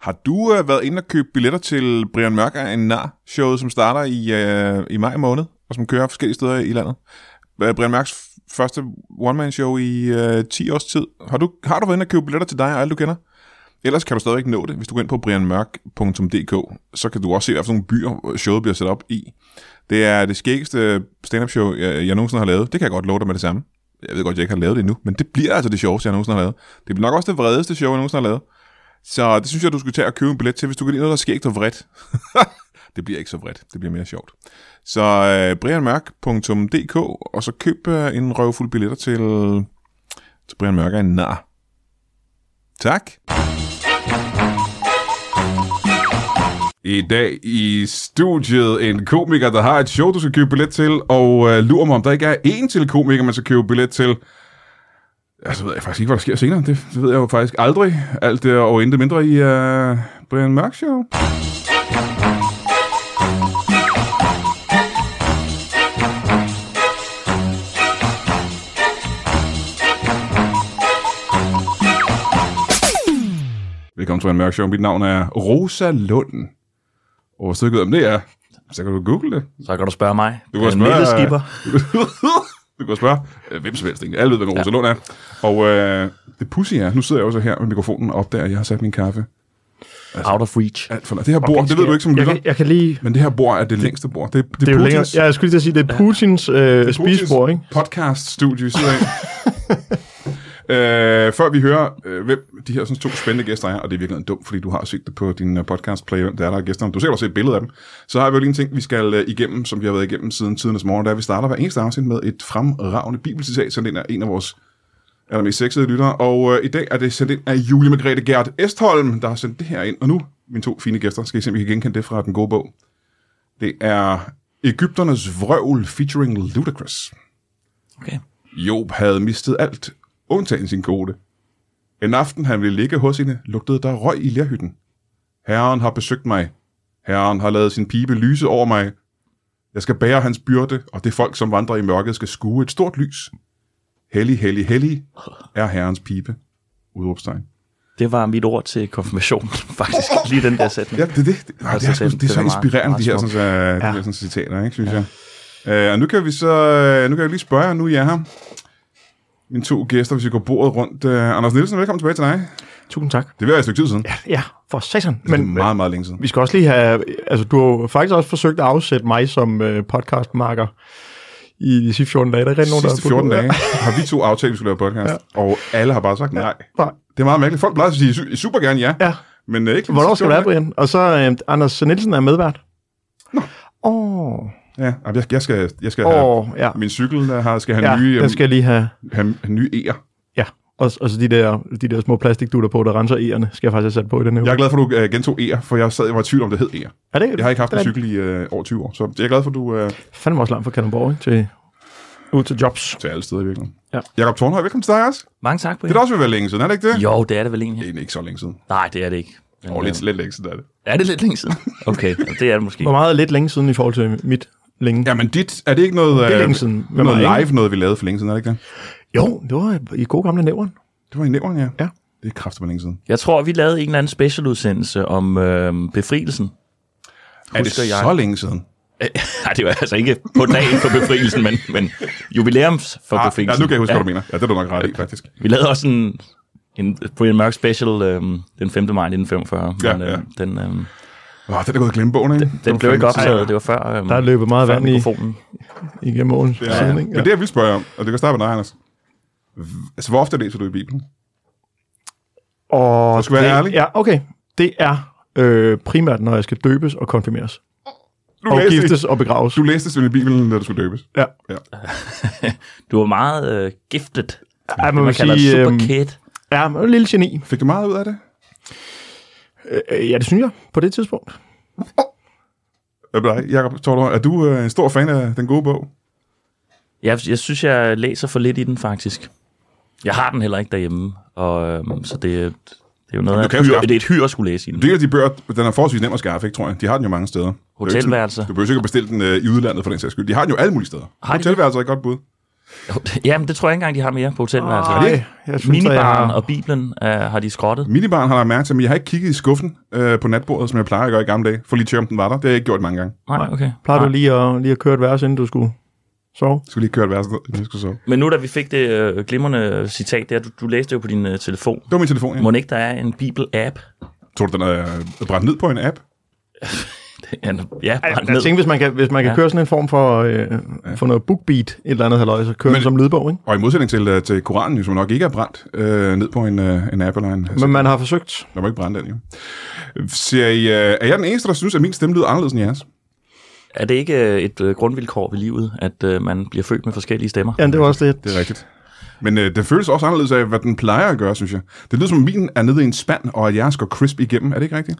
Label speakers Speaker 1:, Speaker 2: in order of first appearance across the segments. Speaker 1: Har du øh, været inde og købe billetter til Brian Mørk er en nar showet som starter i, øh, i maj måned, og som kører forskellige steder i landet? Øh, Brian Mørks f- første one-man-show i øh, 10 års tid. Har du, har du været inde og købe billetter til dig og alle, du kender? Ellers kan du stadigvæk nå det, hvis du går ind på brianmørk.dk, så kan du også se, hvad for nogle byer øh, showet bliver sat op i. Det er det skæggeste stand-up show, jeg, jeg nogensinde har lavet. Det kan jeg godt love dig med det samme. Jeg ved godt, jeg ikke har lavet det endnu, men det bliver altså det sjoveste, jeg nogensinde har lavet. Det bliver nok også det vredeste show, jeg nogensinde har lavet. Så det synes jeg, du skulle tage og købe en billet til, hvis du kan lide noget, der er skægt og vredt. det bliver ikke så vredt, det bliver mere sjovt. Så øh, brianmørk.dk, og så køb øh, en røvfuld billetter til, til Brian Mørk er en nar. Tak. I dag i studiet en komiker, der har et show, du skal købe billet til, og øh, lurer mig, om der ikke er én til komiker, man skal købe billet til. Altså, ved jeg faktisk ikke, hvad der sker senere. Det, det ved jeg jo faktisk aldrig. Alt det og intet mindre i øh, Brian Mørk Show. Velkommen til Brian Mørk Show. Mit navn er Rosa Lund. Og hvis du ikke ved, om det er, så kan du google det.
Speaker 2: Så kan du spørge mig.
Speaker 1: Du kan
Speaker 2: Den
Speaker 1: spørge-
Speaker 2: lille skipper.
Speaker 1: du kan spørge øh, hvem som helst, egentlig. Alle ved, hvem Rosa Lund er. Og øh, det pussy er, nu sidder jeg også her med mikrofonen og opdager, at jeg har sat min kaffe Altså.
Speaker 2: Out of reach.
Speaker 1: alt for langt. Det her bord, det ved du ikke som
Speaker 3: jeg
Speaker 1: lytter,
Speaker 3: kan, jeg kan lige...
Speaker 1: men det her bord er det længste bord. Det, det,
Speaker 3: Det er jo længere,
Speaker 1: Putins,
Speaker 3: ja, jeg skulle lige til at sige, det er Putins øh, spisebord, ikke?
Speaker 1: podcast-studie, vi sidder i. Øh, før vi hører, øh, hvem de her sådan, to spændende gæster er, og det er virkelig dumt, fordi du har set det på din øh, podcast play, hvem der er der er gæsterne. Du ser også et billede af dem. Så har vi jo lige en ting, vi skal øh, igennem, som vi har været igennem siden tidernes morgen, der er, at vi starter hver eneste afsnit med et fremragende bibelcitat, sendt ind af en af vores allermest sexede lyttere. Og øh, i dag er det sendt ind af Julie Margrethe Gert Estholm, der har sendt det her ind. Og nu, mine to fine gæster, skal I se, om I kan genkende det fra den gode bog. Det er Ægypternes vrøvl featuring Ludacris.
Speaker 2: Okay.
Speaker 1: Job havde mistet alt, undtagen sin kone. En aften han ville ligge hos hende, lugtede der røg i lærhytten. Herren har besøgt mig. Herren har lavet sin pibe lyse over mig. Jeg skal bære hans byrde, og det folk, som vandrer i mørket, skal skue et stort lys. Hellig, hellig, hellig er herrens pibe. Udråbstegn.
Speaker 2: Det var mit ord til konfirmation, faktisk. Lige den der sætning.
Speaker 1: Ja, det er det. Det, nej, det, er, sgu, det er så
Speaker 2: meget-
Speaker 1: inspirerende,
Speaker 2: meget
Speaker 1: de her, sådan,
Speaker 2: smukt.
Speaker 1: så, de her sådan, citater, ikke, synes ja. jeg. Øh, og nu kan vi så, øh, nu kan jeg lige spørge, jer, nu jeg er her. Mine to gæster, hvis vi går bordet rundt. Øh, Anders Nielsen, velkommen tilbage til dig.
Speaker 3: Tusind tak.
Speaker 1: Det vil være et stykke tid siden. Ja,
Speaker 3: Ja, for satan.
Speaker 1: men, det er
Speaker 3: Men
Speaker 1: meget, meget længe siden.
Speaker 3: vi skal også lige have... Altså, du har jo faktisk også forsøgt at afsætte mig som øh, podcastmarker i de sidste 14 dage. Der er
Speaker 1: De
Speaker 3: rigtig nogen, der har
Speaker 1: sidste
Speaker 3: fundet
Speaker 1: 14
Speaker 3: ud af-
Speaker 1: dage har vi to aftalt, at vi skulle lave podcast, ja. og alle har bare sagt nej.
Speaker 3: Nej.
Speaker 1: Det er meget mærkeligt. Folk plejer at sige su- super gerne ja,
Speaker 3: Ja.
Speaker 1: men øh, ikke...
Speaker 3: Hvornår skal du være, Brian? Og så øh, Anders Nielsen er medvært. Nå. Åh,
Speaker 1: Ja, ej, jeg, jeg skal, jeg skal have...
Speaker 3: åh, ja.
Speaker 1: Min cykel der har, skal have
Speaker 3: Ja,
Speaker 1: nye, øhm,
Speaker 3: jeg skal lige have...
Speaker 1: have, have nye E'er.
Speaker 3: Ja, og, og så de der, de der små plastikdutter på, der renser æerne, skal jeg faktisk have sat på i den her
Speaker 1: Jeg er
Speaker 3: uge.
Speaker 1: glad for, at du øh, gentog E'er, for jeg sad og var i tvivl om, det hed E'er.
Speaker 3: Er det,
Speaker 1: Jeg har ikke haft en
Speaker 3: det er-
Speaker 1: cykel i øh, over 20 år, så jeg er glad for, at du øh,
Speaker 3: Fandme også langt fra Kalundborg, ikke? Til, ud til jobs.
Speaker 1: til alle steder i virkeligheden.
Speaker 3: Ja.
Speaker 1: Jakob Tornhøj, velkommen til dig også.
Speaker 2: Mange tak,
Speaker 1: Det
Speaker 2: Brian.
Speaker 1: er da også ved at være længe siden, er det ikke det?
Speaker 2: Jo, det er det vel egentlig.
Speaker 1: Egentlig ikke så længe siden.
Speaker 2: Nej, det er det ikke. Men,
Speaker 1: Og lidt,
Speaker 2: øh,
Speaker 1: lidt længe siden er det.
Speaker 2: Er det lidt længe siden? Okay, jamen, det er det måske.
Speaker 3: Hvor meget er lidt længe siden i forhold til mit længe? Ja.
Speaker 1: Jamen dit, er det ikke noget,
Speaker 3: er
Speaker 1: øh,
Speaker 3: længe siden med
Speaker 1: noget
Speaker 3: mig, ikke?
Speaker 1: live, noget vi lavede for længe siden, er det ikke det?
Speaker 3: Jo, det var i gode gamle nævren.
Speaker 1: Det var i nævren, ja.
Speaker 3: Ja.
Speaker 1: Det er kraftigt længe siden.
Speaker 2: Jeg tror, vi lavede en eller anden specialudsendelse om øh, befrielsen.
Speaker 1: Er det
Speaker 2: Husker jeg.
Speaker 1: så længe siden?
Speaker 2: Øh, Nej, det var altså ikke på dagen for befrielsen, men, men jubilæums for
Speaker 1: Ah, ja,
Speaker 2: befrielsen.
Speaker 1: nu kan jeg huske, ja. hvad du mener. Ja, det er du nok ret i, faktisk.
Speaker 2: Vi lavede også en, en Brian Mørk special øh, den 5. maj 1945.
Speaker 1: Ja,
Speaker 2: men, øh,
Speaker 1: ja.
Speaker 2: Den, øh,
Speaker 1: Åh, den er gået i glemmebogen, ikke? Det
Speaker 2: den
Speaker 1: var
Speaker 2: blev
Speaker 1: for
Speaker 2: ikke
Speaker 1: længe siden.
Speaker 2: optaget, det var før, øh,
Speaker 3: Der er løbet meget
Speaker 2: før
Speaker 3: vand i,
Speaker 2: mikrofonen.
Speaker 3: igennem åen
Speaker 1: Ja,
Speaker 3: siden, ikke?
Speaker 1: Men det, jeg vil spørge om, og det kan starte med dig, Anders. V- Altså, hvor ofte læser du i Bibelen?
Speaker 3: Og
Speaker 1: Du skal være
Speaker 3: det,
Speaker 1: ærlig.
Speaker 3: Ja, okay. Det er øh, primært, når jeg skal døbes og konfirmeres.
Speaker 1: Du
Speaker 3: Og
Speaker 1: læste,
Speaker 3: giftes og begraves.
Speaker 1: du læste simpelthen Bibelen, da du skulle døbes.
Speaker 3: Ja.
Speaker 1: ja.
Speaker 2: Du var meget øh, giftet.
Speaker 3: Ja, man
Speaker 2: Man
Speaker 3: vil
Speaker 2: kalder
Speaker 3: sige,
Speaker 2: super
Speaker 3: øhm,
Speaker 2: kid.
Speaker 3: ja, man er en lille geni.
Speaker 1: Fik du meget ud af det?
Speaker 3: Øh, ja, det synes jeg på det tidspunkt.
Speaker 1: Hvad med dig, Jacob Tordor? Er du øh, en stor fan af den gode bog?
Speaker 2: Jeg, jeg synes, jeg læser for lidt i den, faktisk. Jeg har den heller ikke derhjemme, og, øhm, så det, er- det er jo noget,
Speaker 1: du
Speaker 2: af
Speaker 1: kan
Speaker 2: et
Speaker 1: jo
Speaker 2: hyr,
Speaker 1: skaffe-
Speaker 2: det er et hyr at skulle læse i den.
Speaker 1: Det er de bøger, den er forholdsvis nem at skaffe, ikke, tror jeg. De har den jo mange steder. Det er jo ikke sådan-
Speaker 2: Hotelværelser.
Speaker 1: Du behøver ikke at bestille den øh, i udlandet for den sags skyld. De har den jo alle mulige steder.
Speaker 2: Har de det?
Speaker 1: Hotelværelser er et godt bud.
Speaker 2: Jamen, det tror jeg ikke engang, de har mere på hotelværelset.
Speaker 3: Nej, jeg synes, at jeg
Speaker 2: Minibaren
Speaker 3: har... Mm.
Speaker 2: og Bibelen øh, har de skrottet.
Speaker 1: Minibarn har lagt mærke til, men jeg har ikke kigget i skuffen øh, på natbordet, som jeg plejer at gøre i gamle dage, for lige at tjekke, om den var der. Det har jeg ikke gjort mange gange.
Speaker 2: Nej, okay.
Speaker 3: Plejer du
Speaker 2: Nej.
Speaker 3: lige at, lige at køre et vers, inden du skulle sove?
Speaker 1: Jeg skulle lige køre et værelse, inden jeg skulle sove.
Speaker 2: Men nu da vi fik det øh, glimrende citat der, du, du læste det jo på din øh, telefon.
Speaker 1: Det var min telefon, ja.
Speaker 2: Må ikke der er en Bibel-app?
Speaker 1: Tror du, den er øh, brændt ned på en app?
Speaker 2: Ja, ja,
Speaker 3: Ej,
Speaker 2: brændt
Speaker 3: jeg
Speaker 2: ned.
Speaker 3: tænker, hvis man kan, hvis man kan
Speaker 2: Ja.
Speaker 3: ja. køre sådan en form for, øh, for noget bookbeat, et eller andet halvøj, så kører
Speaker 1: Men-
Speaker 3: den som lydbog, ikke?
Speaker 1: Og i modsætning til, øh, til Koranen, jo, som nok ikke er brændt øh, ned på en, øh, en app eller en...
Speaker 3: Men man har forsøgt.
Speaker 1: Der må ikke brænde den, jo. Siger I, øh, er jeg den eneste, der synes, at min stemme lyder anderledes end jeres?
Speaker 2: Er det ikke øh, et øh, grundvilkår ved livet, at øh, man bliver født med forskellige stemmer?
Speaker 3: Ja, det var også lidt.
Speaker 1: Det er rigtigt. Men øh, det føles også anderledes af, hvad den plejer at gøre, synes jeg. Det lyder som, om min er nede i en spand, og at jeres går crisp igennem. Er det ikke rigtigt?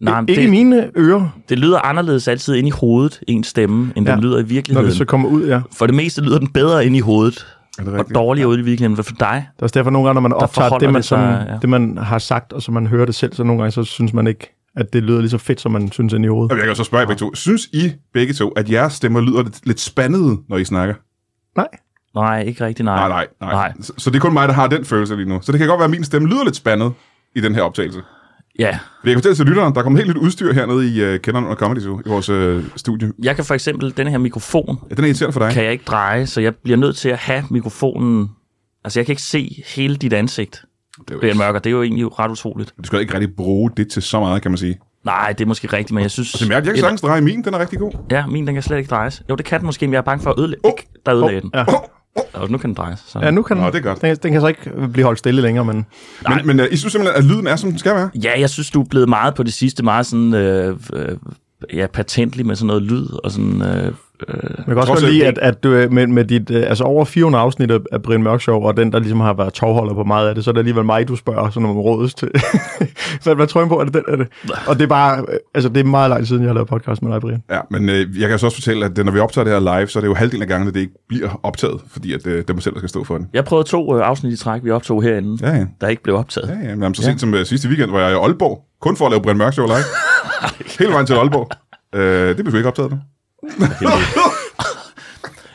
Speaker 2: Nej, men
Speaker 3: Ikke i
Speaker 2: det,
Speaker 3: mine ører,
Speaker 2: det lyder anderledes altid inde i hovedet, ens stemme, end ja.
Speaker 3: Ja.
Speaker 2: den lyder i
Speaker 3: når det
Speaker 2: virkeligheden.
Speaker 3: så kommer ud, ja.
Speaker 2: For det meste lyder den bedre inde i hovedet,
Speaker 1: Er det
Speaker 2: og
Speaker 1: rigtigt?
Speaker 2: dårligere ude i virkeligheden. Hvad for dig?
Speaker 3: Der er også derfor nogle gange, når man optager
Speaker 2: forholder
Speaker 3: det man,
Speaker 2: det sig,
Speaker 3: sådan,
Speaker 2: ja.
Speaker 3: det, man har sagt, og så man hører det selv, så nogle gange, så synes man ikke, at det lyder lige så fedt, som man synes ind i hovedet.
Speaker 1: Og jeg kan så spørge jer begge to. Synes I begge to, at jeres stemmer lyder lidt, lidt spandede, når I snakker?
Speaker 3: Nej.
Speaker 2: Nej, ikke rigtig nej.
Speaker 1: Nej, nej, nej.
Speaker 2: Nej.
Speaker 1: Så, så det er kun mig, der har den følelse lige nu. Så det kan godt være, at min stemme lyder lidt spandet i den her optagelse.
Speaker 2: Ja.
Speaker 1: Vi kan fortælle til lytteren, der er kommet helt nyt udstyr hernede i uh, kenderen under Comedy Zoo, i vores uh, studie.
Speaker 2: Jeg kan for eksempel, den her mikrofon,
Speaker 1: Ja, den er irriterende for dig.
Speaker 2: kan jeg ikke dreje, så jeg bliver nødt til at have mikrofonen. Altså, jeg kan ikke se hele dit ansigt,
Speaker 1: det er jo
Speaker 2: Brian
Speaker 1: ikke,
Speaker 2: Mørker. Det er jo egentlig ret utroligt.
Speaker 1: du skal ikke rigtig bruge det til så meget, kan man sige.
Speaker 2: Nej, det er måske rigtigt, men jeg synes...
Speaker 1: Det mærker jeg kan sagtens dreje min, den er rigtig god.
Speaker 2: Ja, min den kan slet ikke drejes. Jo, det kan den måske, men jeg er bange for at ødelægge. Oh, der ødelagde oh, den.
Speaker 3: ja.
Speaker 2: Og nu kan den drejes. Så.
Speaker 3: Ja, nu kan
Speaker 1: Nå,
Speaker 3: den,
Speaker 1: det er godt.
Speaker 3: Den, den kan så ikke blive holdt stille længere, men
Speaker 1: Men, men uh, I synes simpelthen, at lyden er, som den skal være?
Speaker 2: Ja, jeg synes, du er blevet meget på det sidste, meget sådan... Øh, øh, ja, patentlig med sådan noget lyd og sådan... Øh, øh,
Speaker 3: man kan
Speaker 1: Trods
Speaker 3: også godt lide,
Speaker 1: alt
Speaker 3: at, at du, øh, med, med dit, øh, altså over 400 afsnit af, af Brian Mørk Show, og den, der ligesom har været tovholder på meget af det, så er det alligevel mig, du spørger sådan om rådets til. så hvad tror jeg på, er det den? Er det? Og det er bare, øh, altså det er meget lang tid siden, jeg har lavet podcast med dig, Brian.
Speaker 1: Ja, men øh, jeg kan så også fortælle, at øh, når vi optager det her live, så er det jo halvdelen af gangene, det ikke bliver optaget, fordi at øh, det er mig selv, der skal stå for det.
Speaker 2: jeg prøvede to øh, afsnit i træk, vi optog herinde,
Speaker 1: Ja, ja.
Speaker 2: der ikke blev optaget.
Speaker 1: Ja, ja, men jamen, så sent som øh, sidste weekend var jeg i Aalborg, kun for at lave Brian Mørk Show live. Hele vejen til Aalborg. Øh, det blev ikke optaget nu.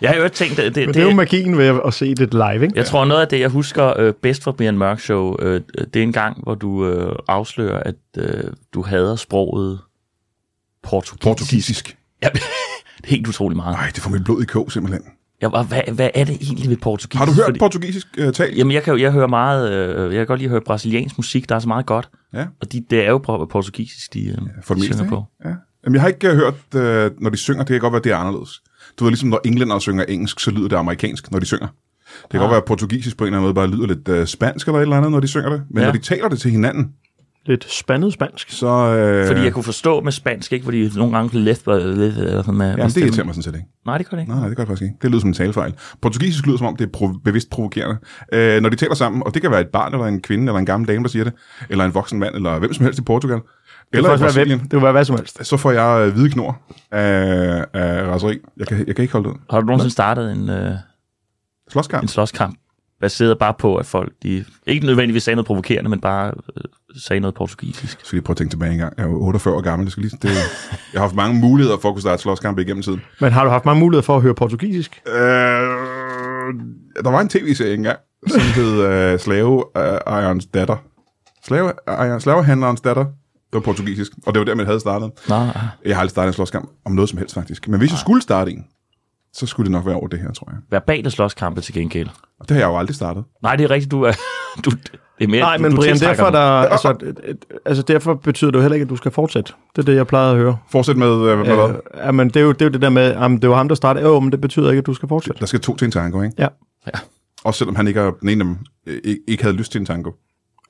Speaker 2: Jeg har jo ikke tænkt... Det, det,
Speaker 3: Men det, er jo magien ved at, at se det live, ikke?
Speaker 2: Jeg tror, noget af det, jeg husker øh, bedst fra Brian Mørk Show, øh, det er en gang, hvor du øh, afslører, at øh, du hader sproget portugisisk.
Speaker 1: Portugisisk.
Speaker 2: Ja, helt utrolig meget.
Speaker 1: Nej, det får mit blod i kog simpelthen.
Speaker 2: Jeg var, hvad, hvad er det egentlig ved portugisisk?
Speaker 1: Har du hørt
Speaker 2: Fordi-
Speaker 1: portugisisk øh, tal?
Speaker 2: Jamen, jeg, kan jo, jeg hører meget... Øh, jeg kan godt lide at høre brasiliansk musik, der er så meget godt.
Speaker 1: Ja.
Speaker 2: Og de, det er jo por- portugisisk, de, øh,
Speaker 1: For det
Speaker 2: de
Speaker 1: meste,
Speaker 2: synger
Speaker 1: ikke?
Speaker 2: på.
Speaker 1: Ja. Jamen, jeg har ikke øh, hørt, øh, når de synger, det kan godt være, det er anderledes. Du ved, ligesom når englænder synger engelsk, så lyder det amerikansk, når de synger. Det kan ah. godt være, at portugisisk på en eller anden måde bare lyder lidt øh, spansk eller et eller andet, når de synger det. Men
Speaker 2: Ja.
Speaker 1: ja. når de taler det til hinanden,
Speaker 3: Lidt spandet spansk.
Speaker 1: så... Øh,
Speaker 2: Fordi jeg kunne forstå med spansk, ikke? Fordi nogle gange blev left, left eller sådan med, med
Speaker 1: Ja, Altså, det
Speaker 2: stemmen.
Speaker 1: irriterer mig sådan set ikke.
Speaker 2: Nej, det gør det ikke.
Speaker 1: Nej, nej, det gør det faktisk ikke. Det lyder som en talefejl. Portugisisk lyder som om, det er prov- bevidst provokerende. Øh, når de taler sammen, og det kan være et barn, eller en kvinde, eller en gammel dame, der siger det, eller en voksen mand, eller hvem som helst i Portugal,
Speaker 3: Det
Speaker 1: eller i
Speaker 3: kan, være, hvem-
Speaker 1: Brasilien,
Speaker 3: det kan være hvad som helst.
Speaker 1: så får jeg øh, hvide knor af, af raseri. Jeg kan, jeg kan ikke holde det ud.
Speaker 2: Har du nogensinde startet en... Øh,
Speaker 1: Slåskamp?
Speaker 2: en slåskamp, baseret bare på, at folk, de ikke nødvendigvis sagde noget provokerende, men bare øh, sagde noget portugisisk.
Speaker 1: Jeg skal lige prøve at tænke tilbage en gang. Jeg er jo 48 år gammel. Jeg, skal lige, det, jeg har haft mange muligheder for at kunne starte slåskampe igennem tiden.
Speaker 3: Men har du haft mange muligheder for at høre portugisisk?
Speaker 1: Øh, der var en tv-serie engang, som hed øh, Slave øh, Irons Datter. Slave, Iron, Slavehandlerens Datter. Det var portugisisk, og det var der, man havde startet.
Speaker 2: Nå,
Speaker 1: Jeg har aldrig startet en slåskamp om noget som helst, faktisk. Men hvis jeg skulle starte en, så skulle det nok være over det her, tror jeg.
Speaker 2: verbale slåskampe til gengæld.
Speaker 1: Og det har jeg jo aldrig startet.
Speaker 2: Nej, det er rigtigt, du er... Du, det er mere,
Speaker 3: Nej,
Speaker 2: du,
Speaker 3: men
Speaker 2: du
Speaker 3: Brian,
Speaker 2: tiltrækker
Speaker 3: derfor,
Speaker 2: dem.
Speaker 3: der, altså, et- et- altså, derfor betyder det jo heller ikke, at du skal fortsætte. Det er det, jeg plejede at høre.
Speaker 1: Fortsæt med, øh, med hvad?
Speaker 3: Øh, ja, men det er, jo, det er jo det der med, jamen, det var ham, der startede. Jo, men det betyder ikke, at du skal fortsætte.
Speaker 1: Der skal to til en tango, ikke?
Speaker 3: Ja.
Speaker 2: Ja.
Speaker 1: Også selvom han ikke er, den ene af dem øh, ikke- ikke havde lyst til en tango. Ja.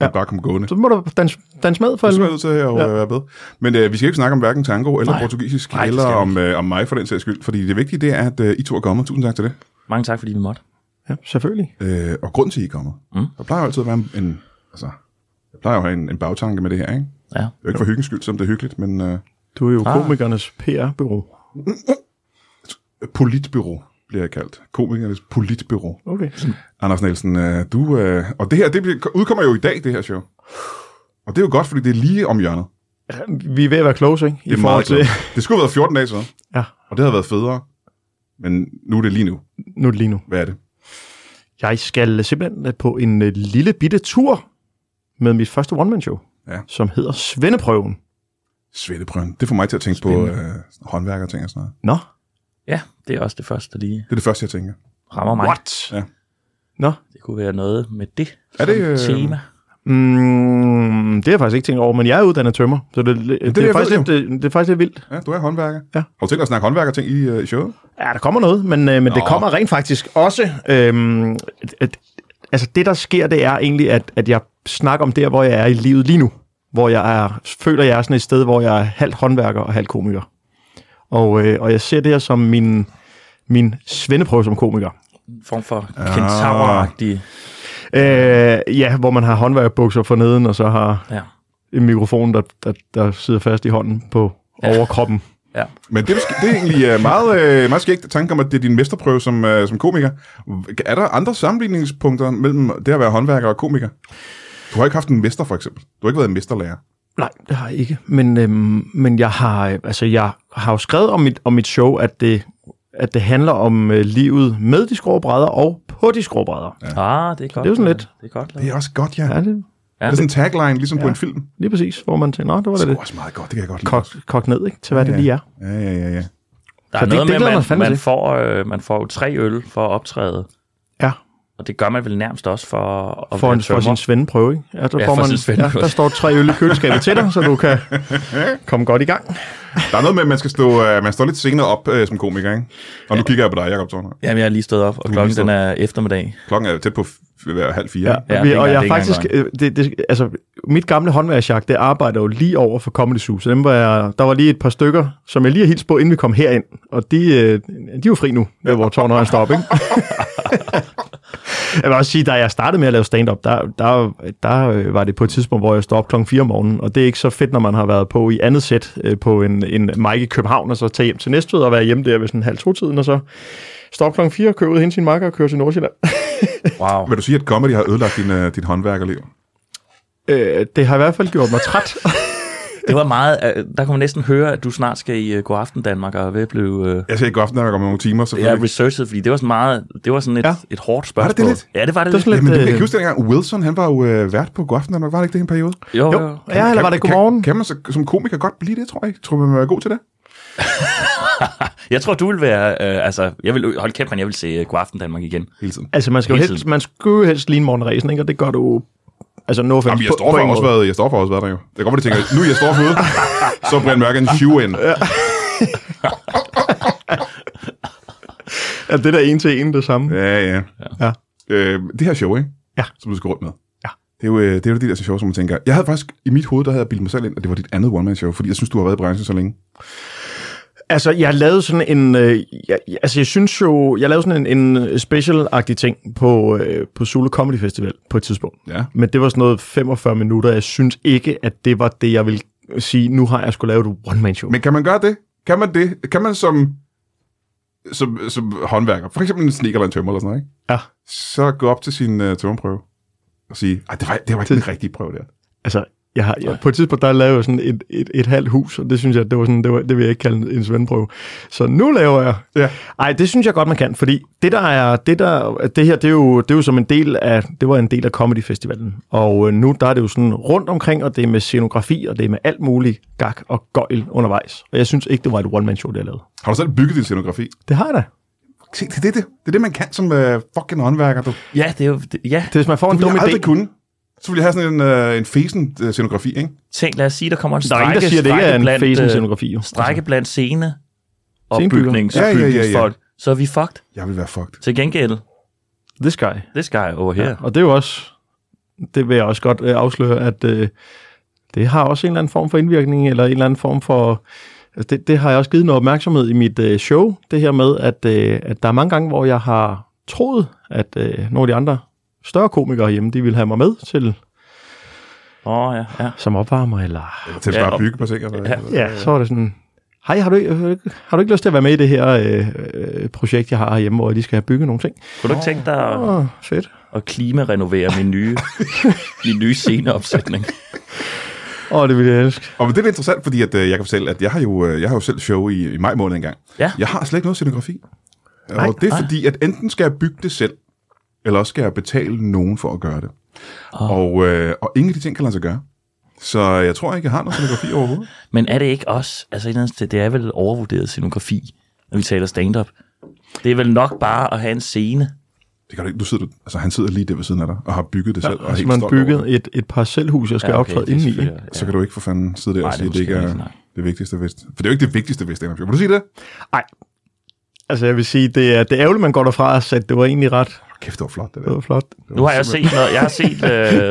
Speaker 3: Ja.
Speaker 1: Han bare kom gående.
Speaker 3: Så må du danse, danse med,
Speaker 1: Så
Speaker 3: for
Speaker 1: er jeg
Speaker 3: helvede.
Speaker 1: nødt til at ja.
Speaker 3: Ja.
Speaker 1: være med. Men øh, vi skal ikke snakke om hverken tango eller
Speaker 2: Nej.
Speaker 1: Nej. portugisisk,
Speaker 2: Nej,
Speaker 1: Nej,
Speaker 2: det
Speaker 1: eller
Speaker 2: skal vi
Speaker 1: om, øh, om mig for den sags skyld. Fordi det vigtige, det er, at øh, I to er kommet. Tusind tak til det.
Speaker 2: Mange tak, fordi vi måtte.
Speaker 3: Ja, selvfølgelig.
Speaker 1: Øh, og grund til, at I er kommet. Mm. Der plejer jo altid at være en... en altså, jeg plejer jo at have en, en bagtanke med det her, ikke? Det
Speaker 2: Ja.
Speaker 1: er jo ikke for hyggens skyld, som det er hyggeligt, men øh,
Speaker 3: Du er jo
Speaker 2: Ah.
Speaker 3: komikernes PR-bureau.
Speaker 1: politbyrå bliver jeg kaldt. Komikernes politbyrå.
Speaker 3: Okay.
Speaker 1: Anders Nielsen, øh, du... Øh, og det her, det bliver, udkommer jo i dag, det her show. Og det er jo godt, fordi det er lige om hjørnet.
Speaker 3: Vi er ved at være close, ikke? I
Speaker 1: Det, er
Speaker 3: forhold
Speaker 1: meget
Speaker 3: til...
Speaker 1: til... det skulle have været 14 dage siden,
Speaker 3: Ja,
Speaker 1: og det havde været federe. Men nu er det lige nu.
Speaker 3: nu er det lige nu.
Speaker 1: Hvad er det?
Speaker 3: Jeg skal simpelthen på en øh, lille bitte tur med mit første one-man-show,
Speaker 1: Ja.
Speaker 3: som hedder Svendeprøven.
Speaker 1: Svetteprøven. Det får mig til at tænke på øh, håndværker og ting og sådan noget.
Speaker 3: Nå,
Speaker 2: Ja, det er også det første, der lige
Speaker 1: Det er det første, jeg tænker.
Speaker 2: rammer mig.
Speaker 3: what?
Speaker 1: Ja.
Speaker 3: Nå,
Speaker 2: Det kunne være noget med det
Speaker 1: Er
Speaker 2: som
Speaker 1: det, øh,
Speaker 2: tema.
Speaker 3: mm, det har jeg faktisk ikke tænkt over, men jeg er uddannet tømmer, så det, det, det,
Speaker 1: jeg
Speaker 3: er, faktisk
Speaker 1: ved
Speaker 3: lidt, det, det er faktisk lidt vildt.
Speaker 1: Ja, du er håndværker.
Speaker 3: Ja.
Speaker 1: Har du tænkt dig at snakke håndværker ting i, øh, i showet?
Speaker 3: Ja, der kommer noget, men, øh, men det
Speaker 1: Nå.
Speaker 3: kommer rent faktisk også... Øhm, at, at, altså det, der sker, det er egentlig, at, at jeg snakker om der, hvor jeg er i livet lige nu. Hvor jeg er, føler, jeg er sådan et sted, hvor jeg er halvt håndværker og halvt komiker. Og, øh, og jeg ser det her som min, min svendeprøve som komiker.
Speaker 2: En form for
Speaker 3: Ah.
Speaker 2: kentauragtig.
Speaker 3: Øh, ja, hvor man har håndværkerbukser for neden, og så har
Speaker 2: Ja.
Speaker 3: en mikrofon, der, der, der sidder fast i hånden på
Speaker 2: Ja.
Speaker 3: overkroppen.
Speaker 2: ja.
Speaker 1: Men det er, måske- det er egentlig øh, meget, øh, meget skægt tanke om, at det er din mesterprøve som, øh, som komiker. Er der andre sammenligningspunkter mellem det at være håndværker og komiker? Du har ikke haft en mester, for eksempel. Du har ikke været en mesterlærer.
Speaker 3: Nej, det har jeg ikke. Men, øhm, men jeg har øh, altså jeg har jo skrevet om mit, om mit show, at det, at det handler om øh, livet med de skråbrædder og på de skråbrædder. Ja.
Speaker 2: Ah, det er godt.
Speaker 3: Det er jo sådan
Speaker 2: lavet.
Speaker 3: lidt-
Speaker 2: Det er godt
Speaker 1: Det
Speaker 2: lavet.
Speaker 1: er også godt, ja. ja.
Speaker 3: ja, det
Speaker 1: Det er sådan en tagline, ligesom ja. på en film.
Speaker 3: lige præcis, hvor man tænker, nå, det var da
Speaker 1: Det er
Speaker 3: lidt
Speaker 1: også meget godt, det kan jeg godt lide.
Speaker 3: kok, kok ned ikke, til hvad ja. det lige er.
Speaker 1: Ja, ja, ja, ja.
Speaker 2: Der
Speaker 3: Så
Speaker 2: er noget
Speaker 3: det- det
Speaker 2: med,
Speaker 3: glæder
Speaker 2: at
Speaker 3: mig
Speaker 2: man,
Speaker 3: fandme
Speaker 2: man,
Speaker 3: til.
Speaker 2: får, øh, man får jo tre øl for at optræde,
Speaker 3: Ja,
Speaker 2: og det gør man vel nærmest også for at
Speaker 3: for,
Speaker 2: være
Speaker 3: en, for sin
Speaker 2: tømrer.
Speaker 3: svendeprøve, ikke? Ja, der,
Speaker 2: Ja,
Speaker 3: får
Speaker 2: for
Speaker 3: man,
Speaker 2: sin svendeprøve.
Speaker 3: der står tre øl i køleskabet til dig, så du kan komme godt i gang.
Speaker 1: Der er noget med, at man skal stå, øh, man står lidt senere op øh, som komiker, ikke? Og nu kigger jeg på dig, Jacob Torner.
Speaker 2: Jamen, jeg er lige stået op, og
Speaker 1: lige
Speaker 2: klokken den
Speaker 1: stået
Speaker 2: er eftermiddag.
Speaker 1: Klokken er tæt på f- være halv fire. Ja.
Speaker 2: Ja,
Speaker 3: Ja,
Speaker 2: det
Speaker 3: vi,
Speaker 2: er
Speaker 3: og
Speaker 2: ikke-
Speaker 3: jeg
Speaker 2: det er
Speaker 3: er
Speaker 2: ikke
Speaker 3: faktisk, øh, det, det, altså, mit gamle håndværksjagt, det arbejder jo lige over for Comedy Zoo, så dem var jeg, der var lige et par stykker, som jeg lige har hilst på, inden vi kom herind, og de, øh, de er jo fri nu, ja. hvor tårnet er stoppet, ikke? jeg vil også sige, da jeg startede med at lave stand-up, der, der, der øh, var det på et tidspunkt, hvor jeg stod op klokken 4 om morgenen, og det er ikke så fedt, når man har været på i andet sæt øh, på en, en mic i København, og så tage hjem til Næstved og være hjemme der ved sådan halv to-tiden, og så stå op klokken 4 og køre ud og hente sin makker og køre til Nordsjælland.
Speaker 2: Wow.
Speaker 1: Vil du sige, at comedy har ødelagt din, øh, dit håndværkerliv?
Speaker 3: Øh, det har i hvert fald gjort mig træt.
Speaker 2: Det var meget... øh, Der kunne man næsten høre, at du snart skal i øh, God Aften Danmark og er ved at blive... øh,
Speaker 1: Jeg ser ikke godt, når der kommer nogle timer,
Speaker 2: Jeg
Speaker 1: selvfølgelig.
Speaker 2: er researchet, fordi det var sådan meget... Det var sådan et,
Speaker 3: Ja.
Speaker 2: et hårdt
Speaker 1: Var
Speaker 2: spørgsmål.
Speaker 1: det det lidt?
Speaker 2: Ja, det var det,
Speaker 3: Det var
Speaker 2: lidt.
Speaker 1: Jamen,
Speaker 3: sådan
Speaker 1: det,
Speaker 3: Øh,
Speaker 1: jeg kan huske dengang, Wilson, han var jo øh, vært på Godaften Danmark, var det ikke det i en periode?
Speaker 2: Jo, jo.
Speaker 3: Jo,
Speaker 2: jo.
Speaker 3: ja, eller var det godmorgen?
Speaker 1: Kan, kan man så, som komiker godt blive det, tror jeg? Tror man, man er god til det?
Speaker 2: Jeg tror, du vil være... Øh, altså, jeg vil, hold kæft, men jeg vil se øh, God Aften Danmark igen.
Speaker 1: Hele tiden.
Speaker 3: Altså, man skal jo
Speaker 2: Hele
Speaker 3: helst,
Speaker 2: tiden.
Speaker 3: man skal jo helst ligne Morten Ræsen, ikke? Og det gør du altså no offense,
Speaker 1: Jamen, jeg
Speaker 3: på-
Speaker 1: står
Speaker 3: på
Speaker 1: for
Speaker 3: ingen
Speaker 1: også
Speaker 3: måde.
Speaker 1: været, jeg står for også været der jo. Det er godt, at de tænker, nu er jeg står for ude, så bliver Brian Mørk en shoe in.
Speaker 3: Ja, det der en til en det samme. Ja.
Speaker 1: Ja, ja.
Speaker 3: Ja.
Speaker 1: Øh, det her show, ikke?
Speaker 3: Ja.
Speaker 1: Som du skal rundt med.
Speaker 3: Ja.
Speaker 1: Det er jo, øh, det er jo det der show, som man tænker. Jeg havde faktisk, i mit hoved, der havde jeg bildet mig selv ind, at det var dit andet one-man-show, fordi jeg synes, du har været i branchen så længe.
Speaker 3: Altså, jeg lavede sådan en... Øh, jeg, jeg- altså, jeg synes jo... Jeg lavede sådan en, en special-agtig ting på, øh, på Zulu Comedy Festival på et tidspunkt.
Speaker 1: Ja.
Speaker 3: Men det var sådan noget 45 minutter. Jeg synes ikke, at det var det, jeg ville sige, nu har jeg skulle lave et one-man-show.
Speaker 1: Men kan man gøre det? Kan man det? Kan man som, som, som håndværker, for eksempel en sneker eller en tømmer eller sådan noget, ikke?
Speaker 3: Ja.
Speaker 1: så gå op til sin uh, tømmerprøve og sige, at det var, det var ikke den rigtige prøve der.
Speaker 3: Altså, jeg har, jeg, på et tidspunkt, der lavede jeg sådan et, et, et halvt hus, og det synes jeg, det, var sådan, det, var, det vil jeg ikke kalde en svendeprøve. Så nu laver jeg.
Speaker 1: Ja.
Speaker 3: Ej, det synes jeg godt, man kan, fordi det der er, det, der, det her, det er, jo, det er jo som en del af, det var en del af Comedy Festivalen. Og øh, nu, der er det jo sådan rundt omkring, og det er med scenografi, og det er med alt muligt gak og gøjl undervejs. Og jeg synes ikke, det var et one-man-show, det jeg lavede.
Speaker 1: Har du selv bygget din scenografi?
Speaker 3: Det har jeg da.
Speaker 1: Se, det er det, det, det, er det man kan som uh, fucking håndværker. Du. Det
Speaker 2: Ja, det er jo... Det, ja,
Speaker 3: Det, er, hvis man får en
Speaker 1: ville
Speaker 3: dum
Speaker 1: jeg aldrig
Speaker 3: idé,
Speaker 1: kunne. Så ville jeg have sådan en, uh, en fesen uh, scenografi, ikke?
Speaker 2: tænk, lad os sige, der kommer en
Speaker 3: der er
Speaker 2: strække...
Speaker 3: ingen, der siger, at det ikke
Speaker 2: strække
Speaker 3: er en
Speaker 2: blandt, øh,
Speaker 3: fesen-scenografi. jo.
Speaker 2: Strække blandt scene og
Speaker 3: Scenebygger.
Speaker 2: bygnings-
Speaker 1: Ja, ja, ja, ja.
Speaker 2: bygningsfolk, så er vi fucked.
Speaker 1: Jeg vil være fucked.
Speaker 2: Til gengæld,
Speaker 3: Altså, This guy.
Speaker 2: this guy over here.
Speaker 3: Ja. Og det er jo også, det vil jeg også godt øh, afsløre, at øh, det har også en eller anden form for indvirkning, eller en eller anden form for, altså det, det har jeg også givet noget opmærksomhed i mit øh, show, det her med, at, øh, at der er mange gange, hvor jeg har troet, at øh, nogle af de andre større komikere hjemme, de ville have mig med til
Speaker 2: Åh, oh, ja, ja.
Speaker 3: som opvarmer, eller...
Speaker 1: Til
Speaker 2: Ja,
Speaker 1: at bare
Speaker 2: og-
Speaker 1: bygge på ting. Eller, ja.
Speaker 3: Ja, så er det sådan, hej, har du, ikke- har du ikke- har du ikke lyst til at være med i det her øh, øh, projekt, jeg har herhjemme, hvor jeg lige skal have bygget nogle ting?
Speaker 2: Kunne du ikke tænke dig at,
Speaker 3: Åh, fedt.
Speaker 2: at klimarenovere min nye, min nye sceneopsætning?
Speaker 3: Åh, det ville jeg elske.
Speaker 1: Og men det er lidt interessant, fordi at, øh, jeg kan fortælle, at jeg har jo, øh, jeg har jo selv show i, i maj måned engang.
Speaker 2: Ja.
Speaker 1: Jeg har slet ikke noget scenografi.
Speaker 3: Nej,
Speaker 1: og det er
Speaker 3: nej.
Speaker 1: fordi, at enten skal jeg bygge det selv, eller også skal jeg betale nogen for at gøre det.
Speaker 2: Ah.
Speaker 1: Oh. Og, øh, og ingen af de ting kan lade sig gøre. Så jeg tror ikke, jeg har noget scenografi overhovedet.
Speaker 2: Men er det ikke også, altså et eller andet sted, det er vel overvurderet scenografi, når vi taler stand-up. Det er vel nok bare at have en scene.
Speaker 1: Det kan du ikke. Du sidder, altså, han sidder lige der ved siden af dig, og har bygget det selv. og er
Speaker 3: Altså,
Speaker 1: helt
Speaker 3: man
Speaker 1: stolt over det.
Speaker 3: byggede et, et parcelhus, jeg skal ja, okay, optræde
Speaker 2: det er
Speaker 3: ind i.
Speaker 2: selvfølgelig-
Speaker 3: ikke?
Speaker 1: Så kan du ikke for fanden sidde der
Speaker 2: Nej,
Speaker 1: og
Speaker 2: det
Speaker 1: sige, at det
Speaker 2: måske
Speaker 1: ikke er
Speaker 2: ikke, nej.
Speaker 1: det vigtigste vest. For det er jo ikke det vigtigste vest, stand-up show. Vil du sige det?
Speaker 3: Altså, jeg vil sige, det er, det er ærgerligt, man går derfra og sagde, at det var egentlig ret
Speaker 1: Kæft, det var flot, det
Speaker 3: det
Speaker 1: der.
Speaker 3: var flot.
Speaker 2: Nu har jeg set noget, jeg har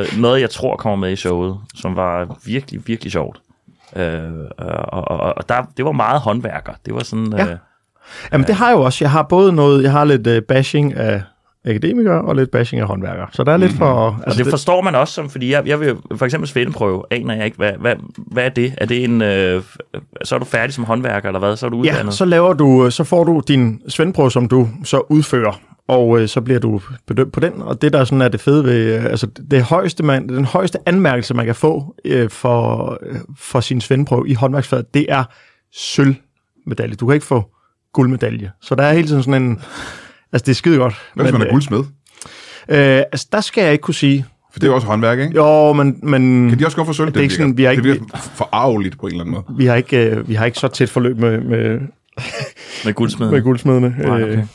Speaker 2: set øh, noget, jeg tror kommer med i showet, som var virkelig, virkelig sjovt. Øh, og og, og der, det var meget håndværker. Det var sådan... Øh,
Speaker 3: Ja. Jamen, det har jeg jo også. Jeg har både noget, jeg har lidt øh, bashing af akademikere og lidt bashing af håndværkere. Så der er lidt for... Mm.
Speaker 2: Mhm. Og det forstår man også, som, fordi jeg, jeg vil jo- for eksempel svendeprøve, aner jeg ikke, hvad, hvad, hvad er det? Er det en, øh, så er du færdig som håndværker, eller hvad? Så er du uddannet?
Speaker 3: Ja, så laver du, øh, så får du din svendprøve, som du så udfører, og øh, så bliver du bedømt på den. Og det, der sådan er det fede ved, øh, altså det højeste man, den højeste anmærkelse, man kan få øh, for, øh, for sin svendprøve i håndværksfaget, det er sølvmedalje. Du kan ikke få guldmedalje. Så der er hele tiden sådan en... Altså, det er skide godt.
Speaker 1: Hvad hvis man er guldsmed?
Speaker 3: øh, altså, der skal jeg ikke kunne sige.
Speaker 1: For det er jo også håndværk, ikke?
Speaker 3: Jo, men... men
Speaker 1: Kan de også godt få sølv?
Speaker 3: Det er ikke
Speaker 1: virker-
Speaker 3: sådan, vi har ikke-
Speaker 1: Det virker forarveligt på en eller anden måde.
Speaker 3: vi, har ikke, øh, vi har ikke så tæt forløb med, med,
Speaker 2: med guldsmeden.
Speaker 3: med guldsmedene.
Speaker 2: Nej, okay.
Speaker 3: Øh, Det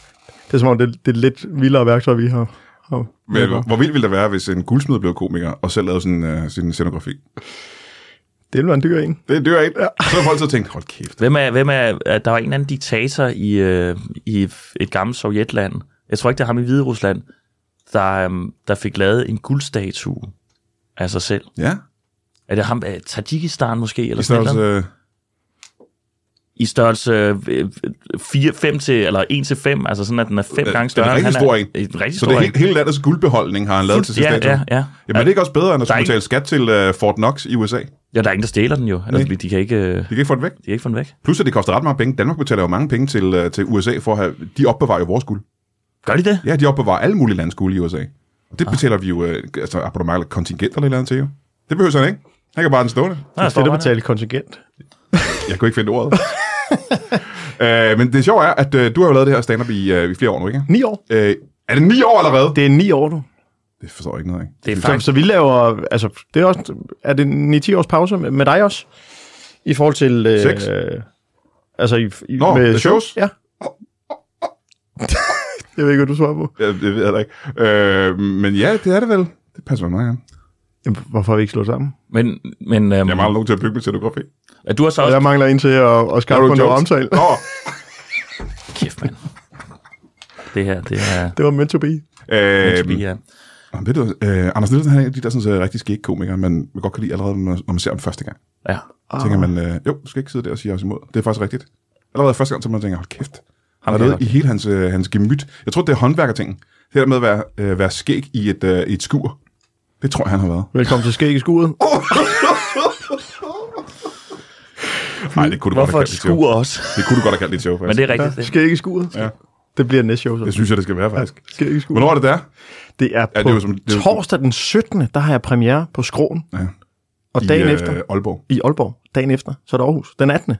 Speaker 3: er som om, det, det er lidt vildere værktøj, vi har. har
Speaker 1: Men hvor- hvor vildt ville det være, hvis en guldsmed blev komiker og selv lavede sin, uh, sin scenografi?
Speaker 3: Det ville være en dyr en.
Speaker 1: Det dør ikke. Så har folk så tænkt, hold kæft.
Speaker 2: Hvem er, hvem er, at der var en eller anden diktator i, øh, i et gammelt sovjetland, jeg tror ikke, det er ham i Hvide Rusland, der, øh, der fik lavet en guldstatue af sig selv.
Speaker 1: Ja,
Speaker 2: Er det ham, øh, Tajikistan måske? Eller
Speaker 1: i
Speaker 2: sådan et eller
Speaker 1: størrelse...
Speaker 2: andet? I størrelse øh, 4, 5 til, eller 1 til 5, altså sådan, at den er fem
Speaker 1: Øh,
Speaker 2: gange
Speaker 1: den er
Speaker 2: større. end
Speaker 1: rigtig
Speaker 2: han
Speaker 1: stor en.
Speaker 2: En rigtig
Speaker 1: Så
Speaker 2: stor
Speaker 1: det er
Speaker 2: en.
Speaker 1: hele, hele landets guldbeholdning har han lavet til sin
Speaker 2: ja,
Speaker 1: statue.
Speaker 2: ja, ja.
Speaker 1: Jamen, er det ikke også bedre, end at
Speaker 2: Der er
Speaker 1: skulle betale skat til uh, Fort Knox i USA?
Speaker 2: Ja, der er ingen, der stjæler den jo. Altså, de, kan ikke, øh, de
Speaker 1: De kan ikke få det væk.
Speaker 2: kan ikke få den væk.
Speaker 1: Plus, at det koster ret mange penge. Danmark betaler jo mange penge til, uh, til USA for at have... De opbevarer jo vores guld.
Speaker 2: Gør de det?
Speaker 1: Ja, de opbevarer alle mulige landes guld i USA. Og det betaler vi jo... Uh, altså, abonnement eller kontingent eller et eller andet til jo. Det behøver han ikke. Han kan bare have den stående.
Speaker 2: Nej,
Speaker 3: Det er der betale kontingent.
Speaker 1: Jeg kunne ikke finde ordet. øh, men det sjove er, at øh, du har jo lavet det her stand-up i, øh, i flere år nu, ikke?
Speaker 3: Ni år.
Speaker 1: Øh, er det ni år allerede? Det,
Speaker 3: Det er ni år nu.
Speaker 1: det forstår jeg ikke noget af.
Speaker 2: Det er
Speaker 3: Så,
Speaker 2: faktisk...
Speaker 3: så vi laver, altså, det er også, er det en 9-10 års pause med, med dig også? I forhold til... Øh,
Speaker 1: Seks.
Speaker 3: Altså, i, i,
Speaker 1: Nå, med shows?
Speaker 3: Ja. jeg ved ikke, hvad du svarer på.
Speaker 1: Jeg, jeg ved heller ikke. Øh, men ja, det er det vel. Det passer mig meget gerne.
Speaker 3: Jamen, Hvorfor har vi ikke slået sammen?
Speaker 2: Men, men øhm,
Speaker 1: Jeg mangler nogen til at bygge min scenografi.
Speaker 2: at du har så
Speaker 3: Og
Speaker 2: også...
Speaker 3: jeg mangler en til at, at skaffe på noget omtale.
Speaker 1: Nå,
Speaker 2: Kæft, mand. Det her, det er...
Speaker 3: Det var meant to be.
Speaker 1: øh,
Speaker 2: Øhm, ja.
Speaker 1: jamen, ved du, øh, Anders Nielsen han er en af de der sådan, så rigtig skægge komikere, man, man godt kan lide allerede, når man, når man ser dem første gang.
Speaker 2: ja.
Speaker 1: Ah. tænker man, øh, jo, du skal ikke sidde der og sige os imod. Det er faktisk rigtigt. Allerede første gang, så man tænker, hold kæft. Han er
Speaker 2: kan jeg
Speaker 1: noget i hele hans, øh, hans gemyt. Jeg tror, det er håndværkertingen. Det der med at være, øh, være skæg i et, øh, i et skur. Det tror jeg, han har været.
Speaker 3: Velkommen til Skæg i skuret.
Speaker 1: Nej, det kunne du godt
Speaker 2: Hvorfor et
Speaker 1: have kaldt dit show.
Speaker 2: skur også?
Speaker 1: Det kunne du godt have kaldt dit show,
Speaker 2: Men
Speaker 1: faktisk.
Speaker 2: det
Speaker 1: Det...
Speaker 2: er rigtigt.
Speaker 3: Ja,
Speaker 2: Det.
Speaker 3: Skæg i skuret.
Speaker 1: Ja.
Speaker 3: Det bliver næste show, så.
Speaker 1: det synes jeg, det skal være, faktisk.
Speaker 3: Skæg i skuret.
Speaker 1: Hvornår er det der?
Speaker 3: Det er på
Speaker 1: det er jo som- det er jo-
Speaker 3: torsdag den 17. Der har jeg premiere på Skråen.
Speaker 1: Ja.
Speaker 3: Og dagen
Speaker 1: I,
Speaker 3: øh... efter
Speaker 1: Aalborg.
Speaker 3: i Aalborg. Dagen efter, så er det Aarhus. Den 18.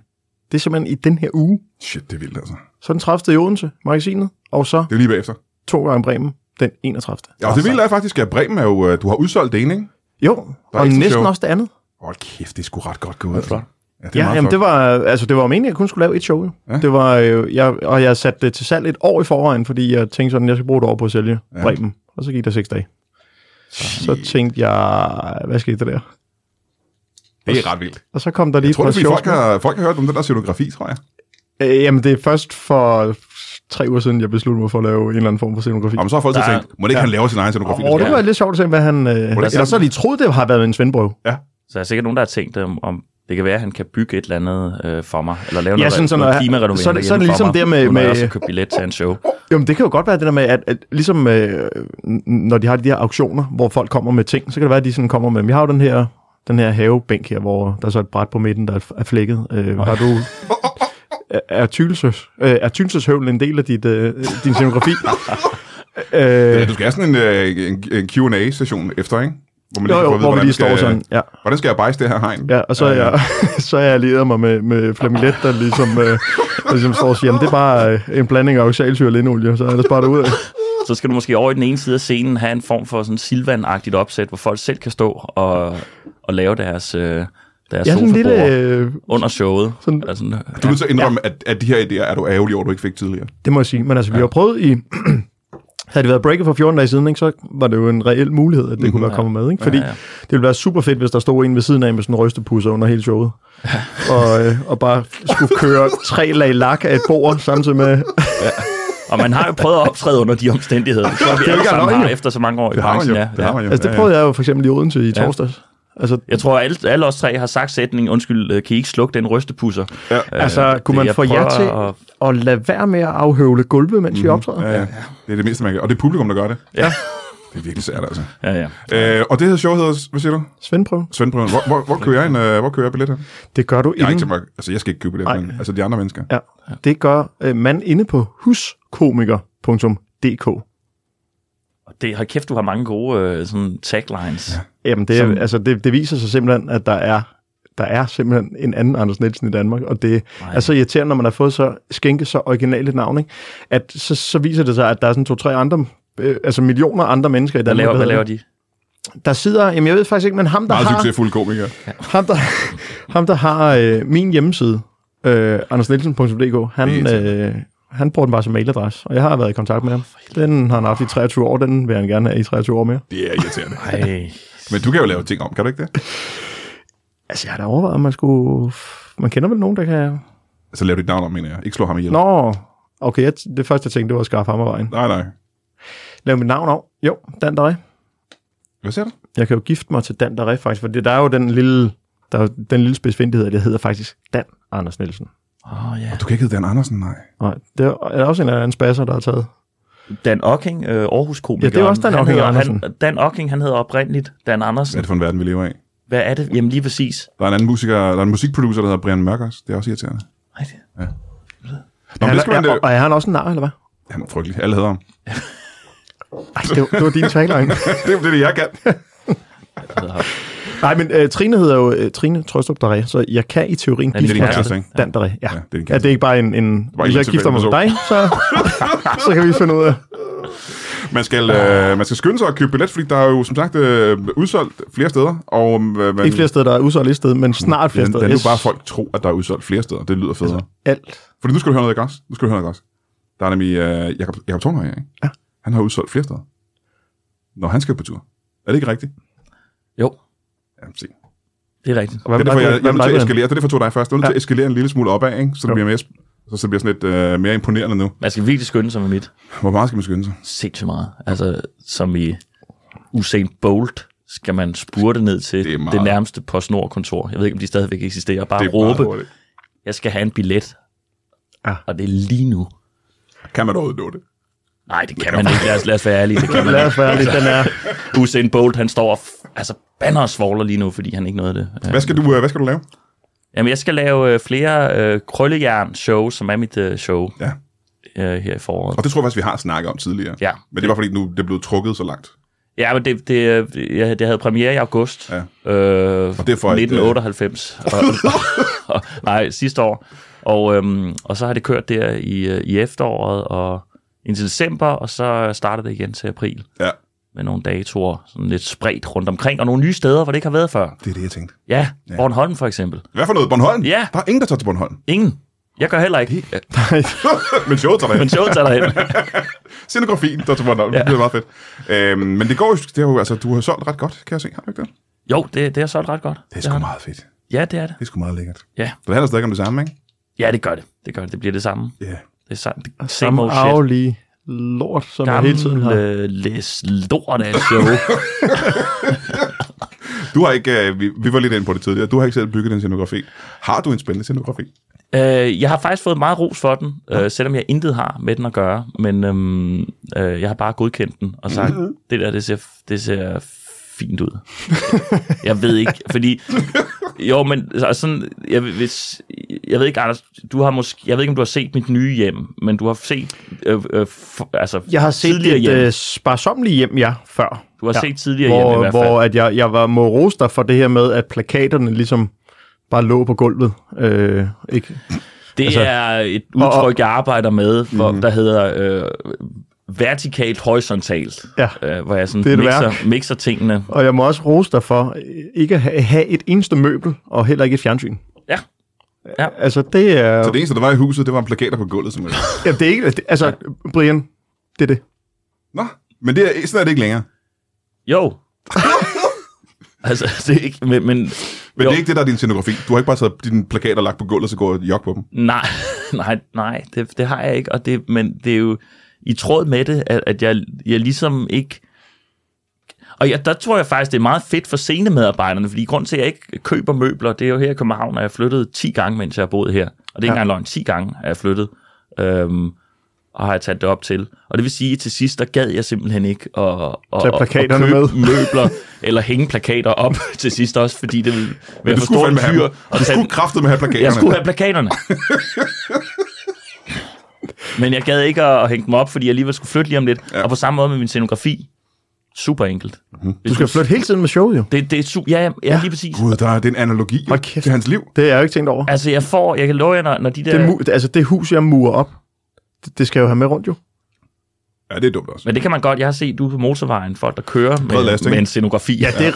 Speaker 3: Det er simpelthen i den her uge.
Speaker 1: Shit, det er vildt, altså.
Speaker 3: Så den 30. i Odense, magasinet. Og så
Speaker 1: Det er lige bagefter.
Speaker 3: to gange Bremen den 31.
Speaker 1: Ja, og det vilde er faktisk, at Bremen er jo... øh, Du har udsolgt det ene, ikke?
Speaker 3: Jo, og
Speaker 1: ekstra
Speaker 3: næsten
Speaker 1: show.
Speaker 3: også det andet.
Speaker 1: Hold kæft, det er sgu ret godt gået. Altså. Ja, det er
Speaker 3: Ja,
Speaker 1: meget
Speaker 3: jamen
Speaker 1: flot.
Speaker 3: det var, altså, det var meningen, at jeg kun skulle lave et show. Jo.
Speaker 1: Ja.
Speaker 3: Ja. Det var, øh, jeg, og jeg satte det til salg et år i forvejen, fordi jeg tænkte sådan, jeg skal bruge et år på at sælge
Speaker 1: Ja.
Speaker 3: ja. Bremen. Og så gik der seks dage. Så tænkte jeg, hvad skete der der?
Speaker 1: det er ret vildt.
Speaker 3: Og så kom der lige
Speaker 1: Jeg tror, det
Speaker 3: et
Speaker 1: er,
Speaker 3: par
Speaker 1: fordi
Speaker 3: shows
Speaker 1: folk har, folk har hørt om den der scenografi, tror jeg.
Speaker 3: med. Øh, jamen, det er først for tre uger siden, jeg besluttede mig for at lave en eller anden form for scenografi.
Speaker 1: Og så har folk så
Speaker 2: Der er-
Speaker 1: tænkt, må det ikke han laver sin egen scenografi?
Speaker 3: Åh, oh, det var lidt sjovt at se, hvad han... Øh, eller så lige troede, det har været en svendbrøv.
Speaker 2: Så der er sikkert nogen, der har tænkt, om, om det kan være, at han kan bygge et eller andet øh, for mig, eller lave
Speaker 3: Ja,
Speaker 2: noget,
Speaker 3: sådan- sådan
Speaker 2: noget
Speaker 3: noget-
Speaker 2: klimarenoverende
Speaker 3: så er det- så er det
Speaker 2: hjemme for
Speaker 3: ligesom
Speaker 2: mig,
Speaker 3: det med-
Speaker 2: nu, når jeg
Speaker 3: med-
Speaker 2: også har købt billet til en show.
Speaker 3: Jo, men det kan jo godt være det der med, at, at ligesom øh, når de har de her auktioner, hvor folk kommer med ting, så kan det være, at de sådan kommer med, vi har jo den her, den her havebænk her, hvor der er så et bræt på midten, der er- er flækket. Øh, har du... Er- Er tylses, øh, er tylseshøvlen en del af dit, øh, din scenografi?
Speaker 1: Ja,
Speaker 3: øh,
Speaker 1: du skal have sådan en, øh, en, en Q&A-session efter, ikke? Hvor man
Speaker 3: jo,
Speaker 1: kan få at
Speaker 3: jo,
Speaker 1: vide,
Speaker 3: hvor vi
Speaker 1: hvordan
Speaker 3: lige står
Speaker 1: skal-
Speaker 3: sådan. Ja.
Speaker 1: Hvordan skal jeg bejse det her hegn?
Speaker 3: Ja, og så er jeg, så er jeg allieret mig med, med Flamilet, der ligesom, øh, der ligesom står og siger, "Jamen, det er bare øh, en blanding af oxalsyre og lindolie, så er det bare ud af.
Speaker 2: så skal du måske over i den ene side af scenen have en form for sådan silvanagtigt opsæt, hvor folk selv kan stå og, og lave deres, øh, deres
Speaker 3: Jeg er sådan en lille...
Speaker 2: sofabord
Speaker 3: Øh,
Speaker 2: under showet.
Speaker 3: sådan-
Speaker 2: eller sådan,
Speaker 1: Du vil så indrømme, ja. at, at de her idéer er du ærgerlig over, du ikke fik tidligere.
Speaker 3: det må jeg sige. Men altså, vi har prøvet i... Havde det været breaket for 14 dage siden, ikke, så var det jo en reel mulighed, at det kunne være kommet med. Ikke? Fordi
Speaker 2: Ja, ja.
Speaker 3: det ville være super fedt, hvis der stod en ved siden af med sådan en rystepusser under hele showet. og, øh, og bare skulle køre tre lag lak af et bord samtidig med...
Speaker 2: Og man har jo prøvet at optræde under de omstændigheder, som vi alle
Speaker 3: ikke
Speaker 2: sammen
Speaker 3: løgn,
Speaker 2: har
Speaker 3: jo.
Speaker 2: efter så mange år i
Speaker 1: Det har man
Speaker 2: branchen.
Speaker 1: jo.
Speaker 2: Ja,
Speaker 1: Det har
Speaker 2: ja.
Speaker 1: man jo.
Speaker 3: Altså, det prøvede jeg jo for eksempel i Odense i torsdags. Altså,
Speaker 2: Jeg tror, at alle, alle os tre har sagt sætningen, undskyld, øh, kan I ikke slukke den rystepusser?
Speaker 1: Ja.
Speaker 2: Øh,
Speaker 3: altså kunne man
Speaker 2: jeg
Speaker 3: få jer
Speaker 2: prøver
Speaker 3: til
Speaker 2: at-
Speaker 3: at lade være med at afhøvle gulvet, mens mm-hmm. vi optræder?
Speaker 1: Mhm. Ja, ja. Det er det mindste, man kan. Og det er publikum, der gør det.
Speaker 2: Ja,
Speaker 1: Det er virkelig sært, altså.
Speaker 2: ja, ja.
Speaker 1: Øh, og det her show hedder, hvad siger du?
Speaker 3: Svendprøve.
Speaker 1: Svendprøven. Hvor, hvor, hvor kører jeg en, øh, hvor kører jeg billetter?
Speaker 3: Det gør du
Speaker 1: Jeg er ikke
Speaker 3: inden...
Speaker 1: til mig, altså jeg skal ikke købe billetter, men altså de andre mennesker.
Speaker 3: Ja, det gør øh, man inde på huskomiker.dk.
Speaker 2: Og Det, har kæft, du har mange gode øh, sådan taglines.
Speaker 3: Jamen, det,
Speaker 2: Som-
Speaker 3: er, altså, det, det viser sig simpelthen, at der er, der er simpelthen en anden Anders Nielsen i Danmark, og det
Speaker 2: Nej.
Speaker 3: er så irriterende, når man har fået så skænke så originalt et navn, ikke? at så, så viser det sig, at der er sådan to-tre andre øh, altså millioner andre mennesker i
Speaker 2: Hvad
Speaker 3: Danmark,
Speaker 2: laver, hvad
Speaker 3: hedder
Speaker 2: laver
Speaker 3: det.
Speaker 2: de?
Speaker 3: der sidder, jamen jeg ved faktisk ikke, men ham der
Speaker 1: Meget
Speaker 3: har,
Speaker 1: succesfulde komikere.
Speaker 3: ham der, ham, der har øh, min hjemmeside, øh, andersnielsen.dk, han,
Speaker 1: Det
Speaker 3: øh, han bruger den bare som mailadresse, og jeg har været i kontakt med ham. Den har han haft i 23 år, den vil han gerne have i 23 år mere.
Speaker 1: Det er irriterende.
Speaker 2: Ej.
Speaker 1: Men du kan jo lave ting om, kan du ikke det?
Speaker 3: Altså, jeg har da overvejet, om man skulle... Man kender vel nogen, der kan...
Speaker 1: Altså lave dit navn om, mener jeg. Ikke slå ham ihjel.
Speaker 3: Nå, okay, jeg, det første, jeg tænkte, det var at skaffe ham af vejen.
Speaker 1: Nej, nej.
Speaker 3: Lav mit navn om. Jo, Dan Drej.
Speaker 1: Hvad siger du?
Speaker 3: Jeg kan jo gifte mig til Dan Drej, faktisk, for der er jo den lille, der er jo den lille spidsfindighed, at jeg hedder faktisk Dan Anders Nielsen.
Speaker 2: Åh, ja.
Speaker 1: Du kan ikke hedde Dan Andersen, nej.
Speaker 3: Nej, det er, er der også en eller anden spasser, der har taget.
Speaker 2: Dan Ocking, øh, Aarhus komiker.
Speaker 3: Ja, det er også Dan Ocking Andersen.
Speaker 2: han, Dan Ocking, han hedder oprindeligt Dan
Speaker 1: Hvad er
Speaker 2: Andersen.
Speaker 1: det for en verden, vi lever i?
Speaker 2: Hvad er det? Jamen lige præcis.
Speaker 1: Der er en anden musiker, der er en musikproducer, der hedder Brian Mørkers. Det er også irriterende.
Speaker 2: Ej, det-
Speaker 1: Nå, men
Speaker 3: han,
Speaker 1: det skal man
Speaker 3: er,
Speaker 1: da...
Speaker 3: og, og er han også en nar, eller hvad?
Speaker 1: Han er frygtelig. Alle hedder ham.
Speaker 3: Ej, det, var, det var din tagline.
Speaker 1: det er det, jeg kan.
Speaker 3: Nej, men øh, Trine hedder jo øh, Trine Trøstrup Dare, så jeg kan i teorien
Speaker 2: Ja, det er
Speaker 3: gifte
Speaker 2: din
Speaker 3: mig
Speaker 1: kæreste,
Speaker 3: til
Speaker 1: ikke?
Speaker 3: Dan Dare. Ja.
Speaker 1: Ja,
Speaker 3: ja,
Speaker 1: det er din
Speaker 3: ja, det
Speaker 1: kæreste.
Speaker 3: er ikke bare en... en
Speaker 1: bare
Speaker 3: hvis
Speaker 1: en
Speaker 3: jeg gifter mig med dig,
Speaker 1: tilfældig
Speaker 3: så, så kan vi finde ud af...
Speaker 1: Man skal, øh, man skal skynde sig at købe billet, fordi der er jo som sagt øh, udsolgt flere steder. Og, øh, man,
Speaker 3: Ikke flere steder, der er udsolgt et sted, men snart flere
Speaker 1: Den,
Speaker 3: steder.
Speaker 1: den er
Speaker 3: Yes.
Speaker 1: jo bare folk tro, at der er udsolgt flere steder. Det lyder federe.
Speaker 3: Alt.
Speaker 1: Fordi nu skal du høre noget, ikke også? Nu skal du høre noget, ikke også? Der er nemlig øh, Jacob, Jacob Thornhøj, ikke? Ja. Han har udsolgt flere steder. Når han skal på tur. Er det ikke rigtigt?
Speaker 2: Jo,
Speaker 1: Ja, se. Det
Speaker 2: det er rigtigt.
Speaker 3: Og hvad
Speaker 1: er
Speaker 3: med
Speaker 1: derfor,
Speaker 3: dig,
Speaker 1: jeg, jeg er
Speaker 3: Brian?
Speaker 1: nødt til at
Speaker 3: Hvad med dig, Brian?
Speaker 1: eskalere. Det er derfor, jeg tog dig først. Jeg er nødt til at eskalere en lille smule opad, ikke? Så det
Speaker 3: Jo.
Speaker 1: bliver mere, så, så det bliver sådan lidt øh, mere imponerende nu.
Speaker 2: Man skal virkelig skynde sig med mit.
Speaker 1: Hvor meget skal man skynde sig?
Speaker 2: Sindssygt meget. Altså, som i Usain Bolt skal man spurte ned til
Speaker 1: Det er
Speaker 2: det,
Speaker 1: meget.
Speaker 2: det nærmeste PostNord-kontor. Jeg ved ikke, om de stadigvæk eksisterer. Bare
Speaker 1: Det er meget
Speaker 2: råbe,
Speaker 1: hurtigt.
Speaker 2: jeg skal have en billet.
Speaker 3: Ja.
Speaker 2: Og det er lige nu.
Speaker 1: Kan man overhovedet nå det?
Speaker 2: Nej, det kan man ikke. Lad os, lad os være ærlige. Det kan man
Speaker 3: Lad os
Speaker 2: ikke. Altså,
Speaker 3: være lidt, den er...
Speaker 2: Usain Bolt, han står og f- altså, banner og svogler lige nu, fordi han ikke nåede det. Ja.
Speaker 1: Hvad skal du, øh, hvad skal du lave?
Speaker 2: Jamen, jeg skal lave øh, flere øh, krøllejern-show, som er mit øh, show
Speaker 1: Ja.
Speaker 2: øh, her i foråret.
Speaker 1: Og det tror jeg faktisk, vi har snakket om tidligere.
Speaker 2: Ja.
Speaker 1: Men det var fordi, nu det er blevet trukket så langt.
Speaker 2: Ja, men det, det, øh, jeg, det havde premiere i august ja. øh, og
Speaker 1: det er for et, øh,
Speaker 2: 1998. Og, og, og, nej, sidste år. Og, øhm, og så har det kørt der i, øh, i efteråret og indtil december, og så starter det igen til april
Speaker 1: Ja,
Speaker 2: med nogle datoer sådan lidt spredt rundt omkring, og nogle nye steder, hvor det ikke har været før.
Speaker 1: det er det, jeg tænkte.
Speaker 2: Ja, ja. Bornholm for eksempel.
Speaker 1: Hvad for noget? Bornholm?
Speaker 2: Ja.
Speaker 1: Der er ingen, der tager til Bornholm.
Speaker 2: Ingen. Jeg gør heller ikke.
Speaker 1: Men showet tager derhen.
Speaker 2: Men showet tager derhen.
Speaker 1: Scenografien, der til Bornholm. Ja. Det er meget fedt. Øhm, men det går jo, det er jo, altså, du har solgt ret godt, kan jeg se. Har du ikke det?
Speaker 2: Jo, det, det har solgt ret godt.
Speaker 1: Det er
Speaker 2: har
Speaker 1: sgu
Speaker 2: det.
Speaker 1: meget fedt.
Speaker 2: Ja, det er det.
Speaker 1: Det er sgu meget lækkert.
Speaker 2: Ja.
Speaker 1: Så det handler stadig om det samme, ikke?
Speaker 2: Ja, det gør det. Det gør det. Det bliver det samme.
Speaker 1: Ja. Yeah.
Speaker 2: Det er samme, det, same
Speaker 3: Samme
Speaker 2: old shit.
Speaker 3: arvelige lort, som jeg
Speaker 2: Gamle
Speaker 3: hele tiden har.
Speaker 2: læs lort af show.
Speaker 1: Du har ikke, øh, vi, vi, var lidt inde på det tidligere, du har ikke selv bygget den scenografi. Har du en spændende scenografi?
Speaker 2: øh, jeg har faktisk fået meget ros for den, øh, selvom jeg intet har med den at gøre. Men øhm, øh, jeg har bare godkendt den og sagt,
Speaker 3: Mhm.
Speaker 2: det der, det ser, det ser fint ud. jeg ved ikke, fordi... Jo, men altså, sådan, jeg, vil- hvis, jeg ved ikke, Anders, du har måske, jeg ved ikke, om du har set mit nye hjem, men du har set øh, øh, for, altså,
Speaker 3: Jeg har set
Speaker 2: tidligere
Speaker 3: et
Speaker 2: hjem.
Speaker 3: øh, sparsomligt hjem, ja, før.
Speaker 2: Du har
Speaker 3: ja.
Speaker 2: set tidligere hjem i
Speaker 3: hvor,
Speaker 2: hvert fald.
Speaker 3: hvor at jeg, jeg var må rose dig for det her med, at plakaterne ligesom bare lå på gulvet. Øh, ikke?
Speaker 2: Det altså,
Speaker 3: Altså- Mhm.
Speaker 2: er et udtryk, jeg arbejder med, for, mm. der hedder øh, vertikalt, horisontalt,
Speaker 3: Ja.
Speaker 2: øh, hvor jeg sådan
Speaker 3: Det er et
Speaker 2: mixer,
Speaker 3: værk.
Speaker 2: mixer tingene.
Speaker 3: Og jeg må også rose dig for øh, ikke at ha- have et eneste møbel, og heller ikke et fjernsyn.
Speaker 2: Ja.
Speaker 3: Altså, det er...
Speaker 1: Så det eneste, der var i huset, det var en plakater på gulvet, simpelthen.
Speaker 3: Jamen, det er ikke... Det, altså, Brian, det er det.
Speaker 1: Nå, men det er, sådan er det ikke længere.
Speaker 2: Jo. altså, det er ikke... Men, men
Speaker 1: Men jo.
Speaker 2: Jo.
Speaker 1: det er ikke det, der er din scenografi. Du har ikke bare taget dine plakater og lagt på gulvet, og så går og jok på dem.
Speaker 2: Nej, nej, nej, det, det har jeg ikke. Og det, men det er jo i tråd med det, at, at jeg, jeg ligesom ikke... Og jeg, der tror jeg faktisk, det er meget fedt for scenemedarbejderne, fordi grund til, at jeg ikke køber møbler, det er jo her i København, og jeg flyttede 10 gange, mens jeg har boet her. Og det er ikke
Speaker 3: Ja.
Speaker 2: engang løgn, 10 gange er jeg flyttet. Øhm, og har jeg taget det op til. Og det vil sige, at til sidst, der gad jeg simpelthen ikke at, at, at,
Speaker 3: plakaterne
Speaker 2: købe
Speaker 3: med.
Speaker 2: møbler, eller hænge plakater op til sidst også, fordi det ville være
Speaker 1: Du
Speaker 2: for
Speaker 1: skulle
Speaker 2: stor en
Speaker 1: fandme have
Speaker 2: hyre.
Speaker 1: dem. Du skulle kraftedeme have plakaterne.
Speaker 2: Jeg skulle have plakaterne. Men jeg gad ikke at hænge dem op, fordi jeg alligevel skulle flytte lige om lidt. Ja. Og på samme måde med min scenografi. Super enkelt. Mm-hmm.
Speaker 3: Mhm. Du skal flytte hele tiden med showet, jo.
Speaker 2: Det, det er su- ja, ja, ja, lige præcis.
Speaker 1: Gud, der er den analogi jo,
Speaker 3: Hold kæft.
Speaker 1: til hans liv.
Speaker 3: Det har jeg jo ikke tænkt over.
Speaker 2: Altså, jeg får, jeg kan love jer, når, når de der...
Speaker 3: Det, mu- altså, det hus, jeg murer op, det, det skal jeg jo have med rundt, jo.
Speaker 1: Ja, det er dumt også.
Speaker 2: men det kan man godt. Jeg har set ude på motorvejen, folk, der kører
Speaker 1: Bred
Speaker 2: med,
Speaker 1: last, ikke?
Speaker 2: med en scenografi.
Speaker 3: Ja, det er...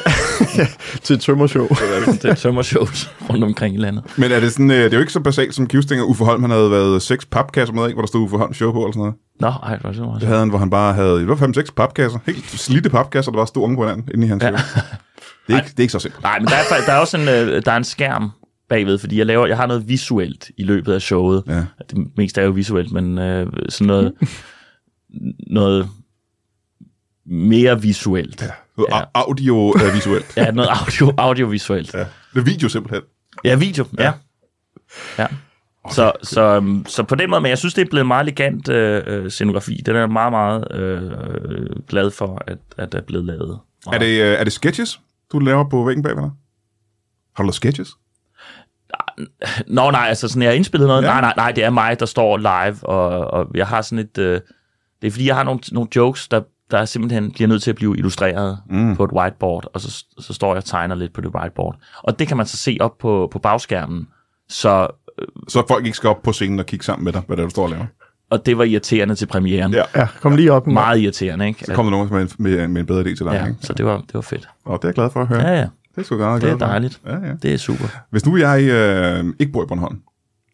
Speaker 3: til et tømmershow.
Speaker 2: det er tømmershows rundt omkring i landet.
Speaker 1: Men er det, sådan, øh, det er jo ikke så basalt som Givsting og Uffe Holm. Han havde været seks papkasser med, ikke, hvor der stod Uffe Holm show på eller sådan noget.
Speaker 2: Nå, ej, hvor er det så meget.
Speaker 1: Det havde han, hvor han bare havde i hvert fald seks papkasser. Helt slidte papkasser, der var stod oven på hinanden inde i hans ja.
Speaker 2: Ja.
Speaker 1: show. Det er, ikke, det er ikke så simpelt.
Speaker 2: Nej, men der er, fa- der er også en, øh, der er en skærm bagved, fordi jeg, laver, jeg har noget visuelt i løbet af showet.
Speaker 1: Ja.
Speaker 2: Det meste er jo visuelt, men øh, sådan noget, noget mere visuelt. Ja.
Speaker 1: ja. Audio øh, visuelt.
Speaker 2: Ja, noget audio, audiovisuelt. Ja.
Speaker 1: ja. Det er video simpelthen.
Speaker 2: ja, video. Ja. ja. Så, så, øhm, så på den måde, men jeg synes, det er blevet en meget elegant øh, øh, scenografi. Den er jeg meget, meget øh, glad for, at, at der er blevet lavet.
Speaker 1: Er det, øh, er det sketches, du laver på væggen bagved dig? Har du lavet sketches?
Speaker 2: Nå nej, altså sådan, jeg har indspillet noget.
Speaker 1: Ja.
Speaker 2: Ja. Nej, nej, nej, det er mig, der står live, og, og jeg har sådan et... Øh, det er fordi, jeg har nogle, nogle jokes, der, der simpelthen bliver nødt til at blive illustreret mm. på et whiteboard, og så, så står jeg og tegner lidt på det whiteboard. Og det kan man så se op på, på bagskærmen. Så,
Speaker 1: Så folk ikke skal op på scenen og kigge sammen med dig, hvad det er, du står og laver.
Speaker 2: og det var irriterende til premieren.
Speaker 1: Ja.
Speaker 2: Ja.
Speaker 3: Ja, kom lige op. Mark.
Speaker 2: Meget irriterende, ikke?
Speaker 1: Så kommer der nogen med en, med, med en bedre idé til dig. Ja.
Speaker 2: ja,
Speaker 1: Ikke?
Speaker 2: så det var, det var fedt.
Speaker 1: Og det er jeg glad for at høre.
Speaker 2: Ja, ja,
Speaker 1: Det er sgu godt.
Speaker 2: det er dejligt.
Speaker 1: Ja, ja.
Speaker 2: Det er super.
Speaker 1: Hvis nu jeg øh, ikke bor i Bornholm.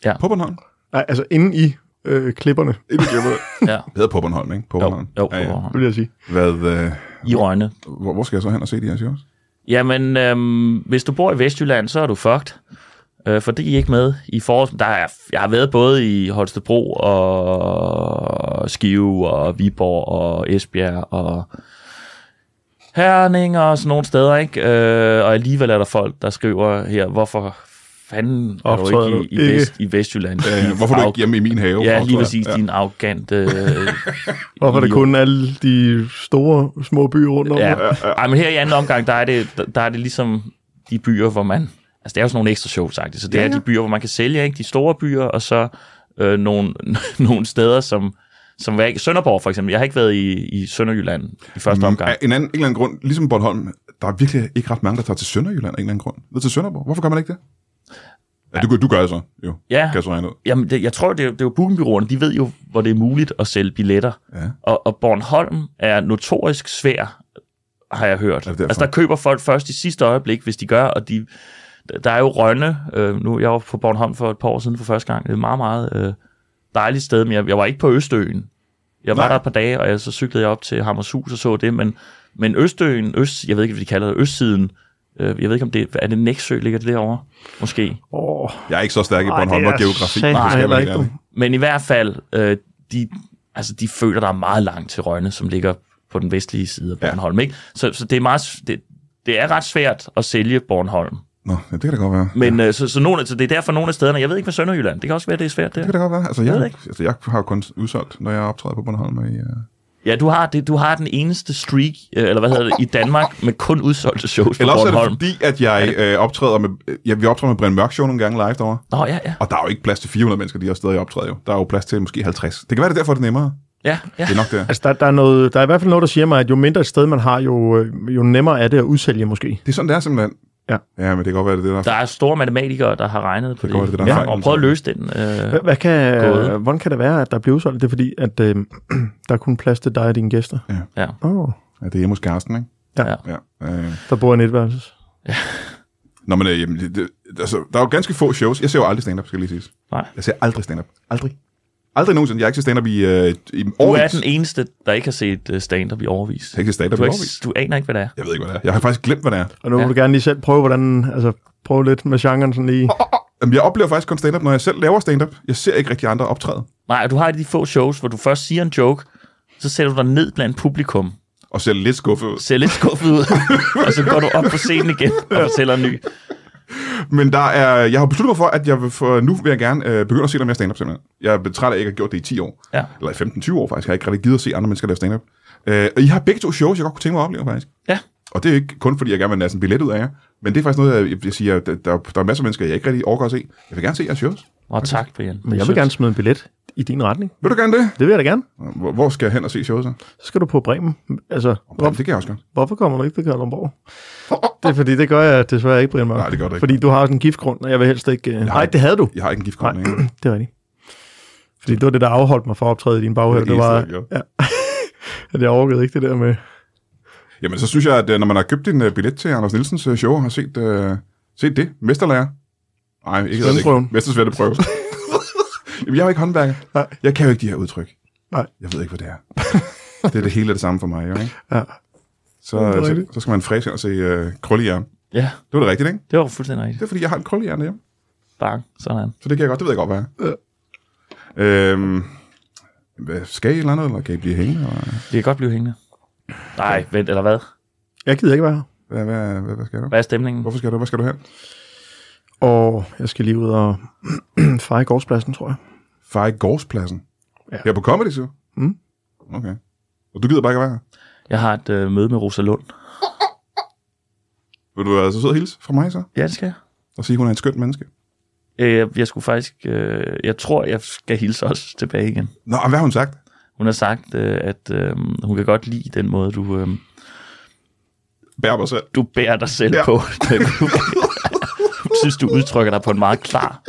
Speaker 2: Ja.
Speaker 1: På Bornholm?
Speaker 3: Nej, altså, inden i øh, klipperne,
Speaker 1: Ikke i Bornholm.
Speaker 2: Ja.
Speaker 1: Det hedder på Bornholm, ikke? På
Speaker 2: Jo,
Speaker 1: Bornholm.
Speaker 2: jo,
Speaker 1: ja, ja.
Speaker 2: jo.
Speaker 3: vil jeg sige.
Speaker 1: Hvad, øh,
Speaker 2: I Rønne.
Speaker 1: hvor, hvor skal jeg så hen og se de her shows?
Speaker 2: Jamen, øhm, hvis du bor i Vestjylland, så er du fucked. Øh, for det er I ikke med i forårs. Der er, jeg har været både i Holstebro og Skive og Viborg og Esbjerg og Herning og sådan nogle steder, ikke? Øh, og alligevel er der folk, der skriver her, hvorfor fanden er du
Speaker 3: Optræder
Speaker 2: ikke i, i,
Speaker 3: du ikke?"
Speaker 2: vest, i Vestjylland?
Speaker 1: Øh,
Speaker 2: Din
Speaker 1: hvorfor er du
Speaker 2: arro-
Speaker 1: ikke hjemme i min have?
Speaker 2: Ja, lige
Speaker 1: Tror jeg.
Speaker 2: præcis, din arrogante... Øh,
Speaker 3: Hvorfor er det
Speaker 2: idiot.
Speaker 3: kun alle de store, små byer rundt om?
Speaker 2: Ja.
Speaker 3: Ja.
Speaker 2: Ej, men her i anden omgang, der er det, der, der er det ligesom de byer, hvor man... Altså, det er jo sådan nogle ekstra shows, faktisk. Så det ja, ja. er de byer, hvor man kan sælge, ikke? De store byer, og så øh, nogle, nogle steder, som, som var ikke... Sønderborg, for eksempel. Jeg har ikke været i, i Sønderjylland i første omgang.
Speaker 1: Af en, anden, en eller anden grund, ligesom Bornholm, der er virkelig ikke ret mange, der tager til Sønderjylland af en eller anden grund. Ned til Sønderborg. Hvorfor gør man ikke det? Ja, du, gør- du gør det så, jo.
Speaker 2: Ja.
Speaker 1: Kan jeg så regne ud.
Speaker 2: Jamen, det, jeg tror, det er, jo- det er jo bookingbyråerne, de ved jo, hvor det er muligt at sælge billetter.
Speaker 1: Ja.
Speaker 2: Og, og Bornholm er notorisk svær, har jeg hørt.
Speaker 1: derfor?
Speaker 2: Altså, der køber folk først i sidste øjeblik, hvis de gør, og de, der er jo Rønne. Øh, nu, jeg var på Bornholm for et par år siden for første gang. Det er et meget, meget øh, dejligt sted, men jeg, jeg var ikke på Østøen. Jeg var
Speaker 1: Nej.
Speaker 2: Nej. der et par dage, og jeg, så cyklede jeg op til Hammershus og så det, men, men Østøen, Øst, jeg ved ikke, hvad de kalder det, Østsiden, øh, jeg ved ikke, om det er det Næksø, ligger det derovre, måske.
Speaker 3: Oh,
Speaker 1: Jeg er ikke så stærk i
Speaker 3: Ej,
Speaker 1: Bornholm
Speaker 3: det
Speaker 1: og
Speaker 3: er
Speaker 1: geografi.
Speaker 3: satme
Speaker 1: det skal
Speaker 3: heller
Speaker 1: jeg være
Speaker 3: ikke, du.
Speaker 1: helt
Speaker 2: Men i hvert fald, øh, de, altså, de føler, der er meget langt til Rønne, som ligger på den vestlige side af
Speaker 1: Ja.
Speaker 2: Bornholm. Ja. Ikke? Så, så det, er meget, s- det, det er ret svært at sælge Bornholm.
Speaker 1: ærlig. Nå, ja, det kan da godt være.
Speaker 2: Men øh, så, så, nogle, så det er derfor nogle af stederne, jeg ved ikke med Sønderjylland, det kan også være, det er svært
Speaker 1: Det kan
Speaker 2: der.
Speaker 1: da godt være. Altså, jeg,
Speaker 2: ved
Speaker 1: jeg, altså, jeg har jo kun udsolgt, når jeg optræder på Bornholm. Og i, uh...
Speaker 2: Ja, du har, det, du har den eneste streak, øh, eller hvad hedder det, i Danmark med kun udsolgte shows på
Speaker 1: Eller også er det
Speaker 2: Bornholm.
Speaker 1: fordi, at jeg øh, optræder med... Øh, ja, vi optræder med Brian Mørk Show nogle gange live derovre.
Speaker 2: Nå, ja, ja.
Speaker 1: Og der er jo ikke plads til 400 mennesker, de her steder, jeg optræder jo. Der er jo plads til måske 50. Det kan være, det er derfor, det er nemmere.
Speaker 2: ja, ja.
Speaker 1: Det er nok det.
Speaker 3: altså, der, der, er noget, der er i hvert fald noget, der siger mig, at jo mindre et sted man har, jo, øh, jo nemmere er det at udsælge, måske.
Speaker 1: Det er sådan, det er simpelthen.
Speaker 3: Ja.
Speaker 1: Ja, men det kan godt være, det er det, der,
Speaker 2: Der er store matematikere, der har regnet på
Speaker 1: Det
Speaker 2: det,
Speaker 1: kan godt være,
Speaker 2: det,
Speaker 1: det er der
Speaker 2: det
Speaker 1: er
Speaker 2: ja,
Speaker 1: fejl,
Speaker 2: og prøvet at løse den. Øh,
Speaker 3: Hvad, hvad kan, øh,
Speaker 2: Gåde.
Speaker 3: hvordan kan det være, at der bliver udsolgt? Det er fordi, at øh, der er kun plads til dig og dine gæster.
Speaker 2: ja.
Speaker 3: Åh, oh,
Speaker 1: ja, det er hjemme hos Karsten, ikke?
Speaker 3: Ja.
Speaker 1: ja. Øh.
Speaker 3: der bor en etværelses.
Speaker 1: Nå, men øh, jamen, det, det, altså, der er jo ganske få shows. Jeg ser jo aldrig stand-up, skal jeg lige sige.
Speaker 2: Nej.
Speaker 1: Jeg ser aldrig stand-up. Aldrig. Aldrig nogensinde. Jeg har ikke set stand-up i, øh, i
Speaker 2: Du
Speaker 1: årvis.
Speaker 2: er den eneste, der ikke har set øh, stand-up i overvis.
Speaker 1: Jeg har ikke set stand-up
Speaker 2: Du,
Speaker 1: i
Speaker 2: er
Speaker 1: årvis.
Speaker 2: ikke, du aner ikke, hvad det er.
Speaker 1: Jeg ved ikke, hvad det er. Jeg har faktisk glemt, hvad det er.
Speaker 3: Og nu ja.
Speaker 2: Ja.
Speaker 3: vil du gerne lige selv prøve, hvordan, altså, prøve lidt med genren sådan lige.
Speaker 1: Jamen, jeg oplever faktisk kun stand-up, når jeg selv laver stand-up. Jeg ser ikke rigtig andre optræde.
Speaker 2: Nej, og du har de få shows, hvor du først siger en joke, så sætter du dig ned blandt publikum,
Speaker 1: Og ser lidt skuffet ud.
Speaker 2: ser lidt skuffet ud, og så går du op på scenen igen og fortæller en ny.
Speaker 1: Men der er, jeg har besluttet mig for, at jeg vil for, nu vil jeg gerne øh, begynde at se noget mere stand-up simpelthen. Jeg er træt af, at jeg ikke har gjort det i 10 år.
Speaker 2: Ja.
Speaker 1: Eller i 15-20 år faktisk. Jeg har ikke rigtig givet at se andre mennesker lave stand-up. Øh, og I har begge to shows, jeg godt kunne tænke mig at opleve faktisk.
Speaker 2: Ja,
Speaker 1: Og det er ikke kun, fordi jeg gerne vil næsten en billet ud af jer. Men det er faktisk noget, jeg, jeg siger, der, der, der er masser af mennesker, jeg ikke rigtig overgår at se. Jeg vil gerne se jeres shows.
Speaker 2: og tak, Brian.
Speaker 3: Men jeg vil gerne smide en billet i din retning.
Speaker 1: Vil du gerne det?
Speaker 3: Det vil jeg da gerne.
Speaker 1: Hvor, hvor skal jeg hen og se showet så?
Speaker 3: Så skal du på Bremen. Altså,
Speaker 1: Ja,
Speaker 3: hvor,
Speaker 1: det kan jeg også godt.
Speaker 3: hvorfor kommer du ikke til Kalundborg? Det er fordi, det gør jeg desværre ikke, Brian Mørk.
Speaker 1: Nej, det gør du ikke.
Speaker 3: Fordi du har også en giftgrund, og jeg vil helst ikke... Øh... Nej, det havde du.
Speaker 1: Jeg har ikke en giftkort.
Speaker 3: Nej, det er rigtigt. Fordi det var det, der afholdt mig fra at optræde i din baghave.
Speaker 1: Det
Speaker 3: Det,
Speaker 1: er det
Speaker 3: var,
Speaker 1: eneste, jeg
Speaker 3: ja. at jeg overvejede ikke det der med...
Speaker 1: Jamen, så synes jeg, at øh, når man har købt en øh, billet til Anders Nielsens øh, show og har set, øh, set det, mesterlærer. Nej, ikke hedder det
Speaker 3: Svendprøven.
Speaker 1: ikke. Mestersvendeprøve. Jamen, jeg er jo ikke håndværker.
Speaker 3: Nej.
Speaker 1: Jeg kan jo ikke de her udtryk.
Speaker 3: Nej.
Speaker 1: Jeg ved ikke, hvad det er. det er det hele det samme for mig, jo, ikke?
Speaker 3: Ja.
Speaker 1: Så,
Speaker 3: det er
Speaker 1: så,
Speaker 3: rigtigt.
Speaker 1: så, skal man fræse ind og se øh, krøllejern.
Speaker 2: Ja,
Speaker 1: Det var det rigtigt, ikke?
Speaker 2: det var fuldstændig rigtigt.
Speaker 1: Det er, fordi jeg har en krøllejern derhjemme.
Speaker 2: Bang, sådan.
Speaker 1: Så det kan jeg godt, det ved jeg godt, hvad jeg er. Øhm, hvad, skal I et eller andet, eller kan I blive hængende? Eller
Speaker 2: Det kan godt blive hængende. Nej, vent, eller hvad?
Speaker 3: Jeg gider ikke være her.
Speaker 1: hvad, hvad, hvad, hvad skal du?
Speaker 2: Hvad er stemningen?
Speaker 1: Hvorfor skal du? Hvad skal du hen?
Speaker 3: Og jeg skal lige ud og fejre gårdspladsen, tror jeg.
Speaker 1: Far i gårdspladsen. Ja.
Speaker 3: Ja.
Speaker 1: Her på Comedy Zoo?
Speaker 3: Mm.
Speaker 1: Okay. Og du gider bare ikke at være her?
Speaker 2: Jeg har et øh, møde med Rosa Lund.
Speaker 1: Vil du altså sidde og hilse fra mig så?
Speaker 2: Ja, det skal jeg.
Speaker 1: Og sige, at hun er en skønt menneske?
Speaker 2: Øh, jeg- jeg skulle faktisk... Øh, jeg tror, jeg skal hilse os tilbage igen.
Speaker 1: Nå, og hvad har hun sagt?
Speaker 2: Hun har sagt, øh, at øh, hun kan godt lide den måde, du, øh,
Speaker 1: Bær mig selv.
Speaker 2: du bærer dig selv
Speaker 1: Ja.
Speaker 2: ja. på. Hun synes, du udtrykker dig på en meget klar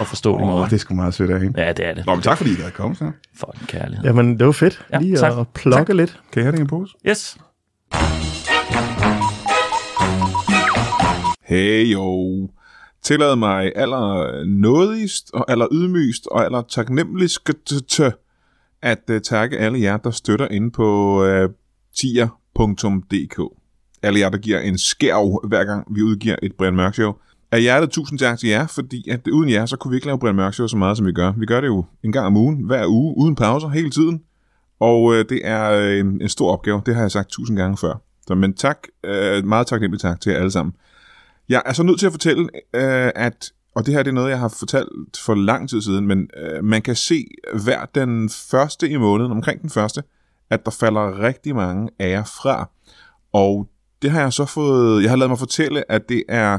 Speaker 2: og forståelig
Speaker 1: Åh,
Speaker 2: måde.
Speaker 1: oh, det er sgu meget sødt af hende. Ja.
Speaker 2: Ja, det er det.
Speaker 1: Nå, men tak fordi I gad komme så.
Speaker 2: For en kærlighed.
Speaker 3: Jamen, det var fedt.
Speaker 2: Ja,
Speaker 3: lige
Speaker 2: tak.
Speaker 3: at plukke lidt.
Speaker 1: Kan I have det i en pose?
Speaker 2: Yes.
Speaker 1: Hey jo. Tillad mig aller nådigst og aller ydmygst og aller taknemmeligst at uh, takke alle jer, der støtter inde på uh, tier.dk. Alle jer, der giver en skærv, hver gang vi udgiver et Brian Mørk Show. Af hjertet tusind tak til jer, fordi at uden jer, så kunne vi ikke lave Brian Mørk Show så meget, som vi gør. Vi gør det jo en gang om ugen, hver uge, uden pauser, hele tiden. Og øh, det er øh, en, en stor opgave, det har jeg sagt tusind gange før. Så, men tak, øh, meget taknemmelig tak til jer alle sammen. Jeg er så nødt til at fortælle, øh, at, og det her det er noget, jeg har fortalt for lang tid siden, men øh, man kan se hver den første i måneden, omkring den første, at der falder rigtig mange af jer fra. Og det har jeg så fået, jeg har lavet mig fortælle, at det er,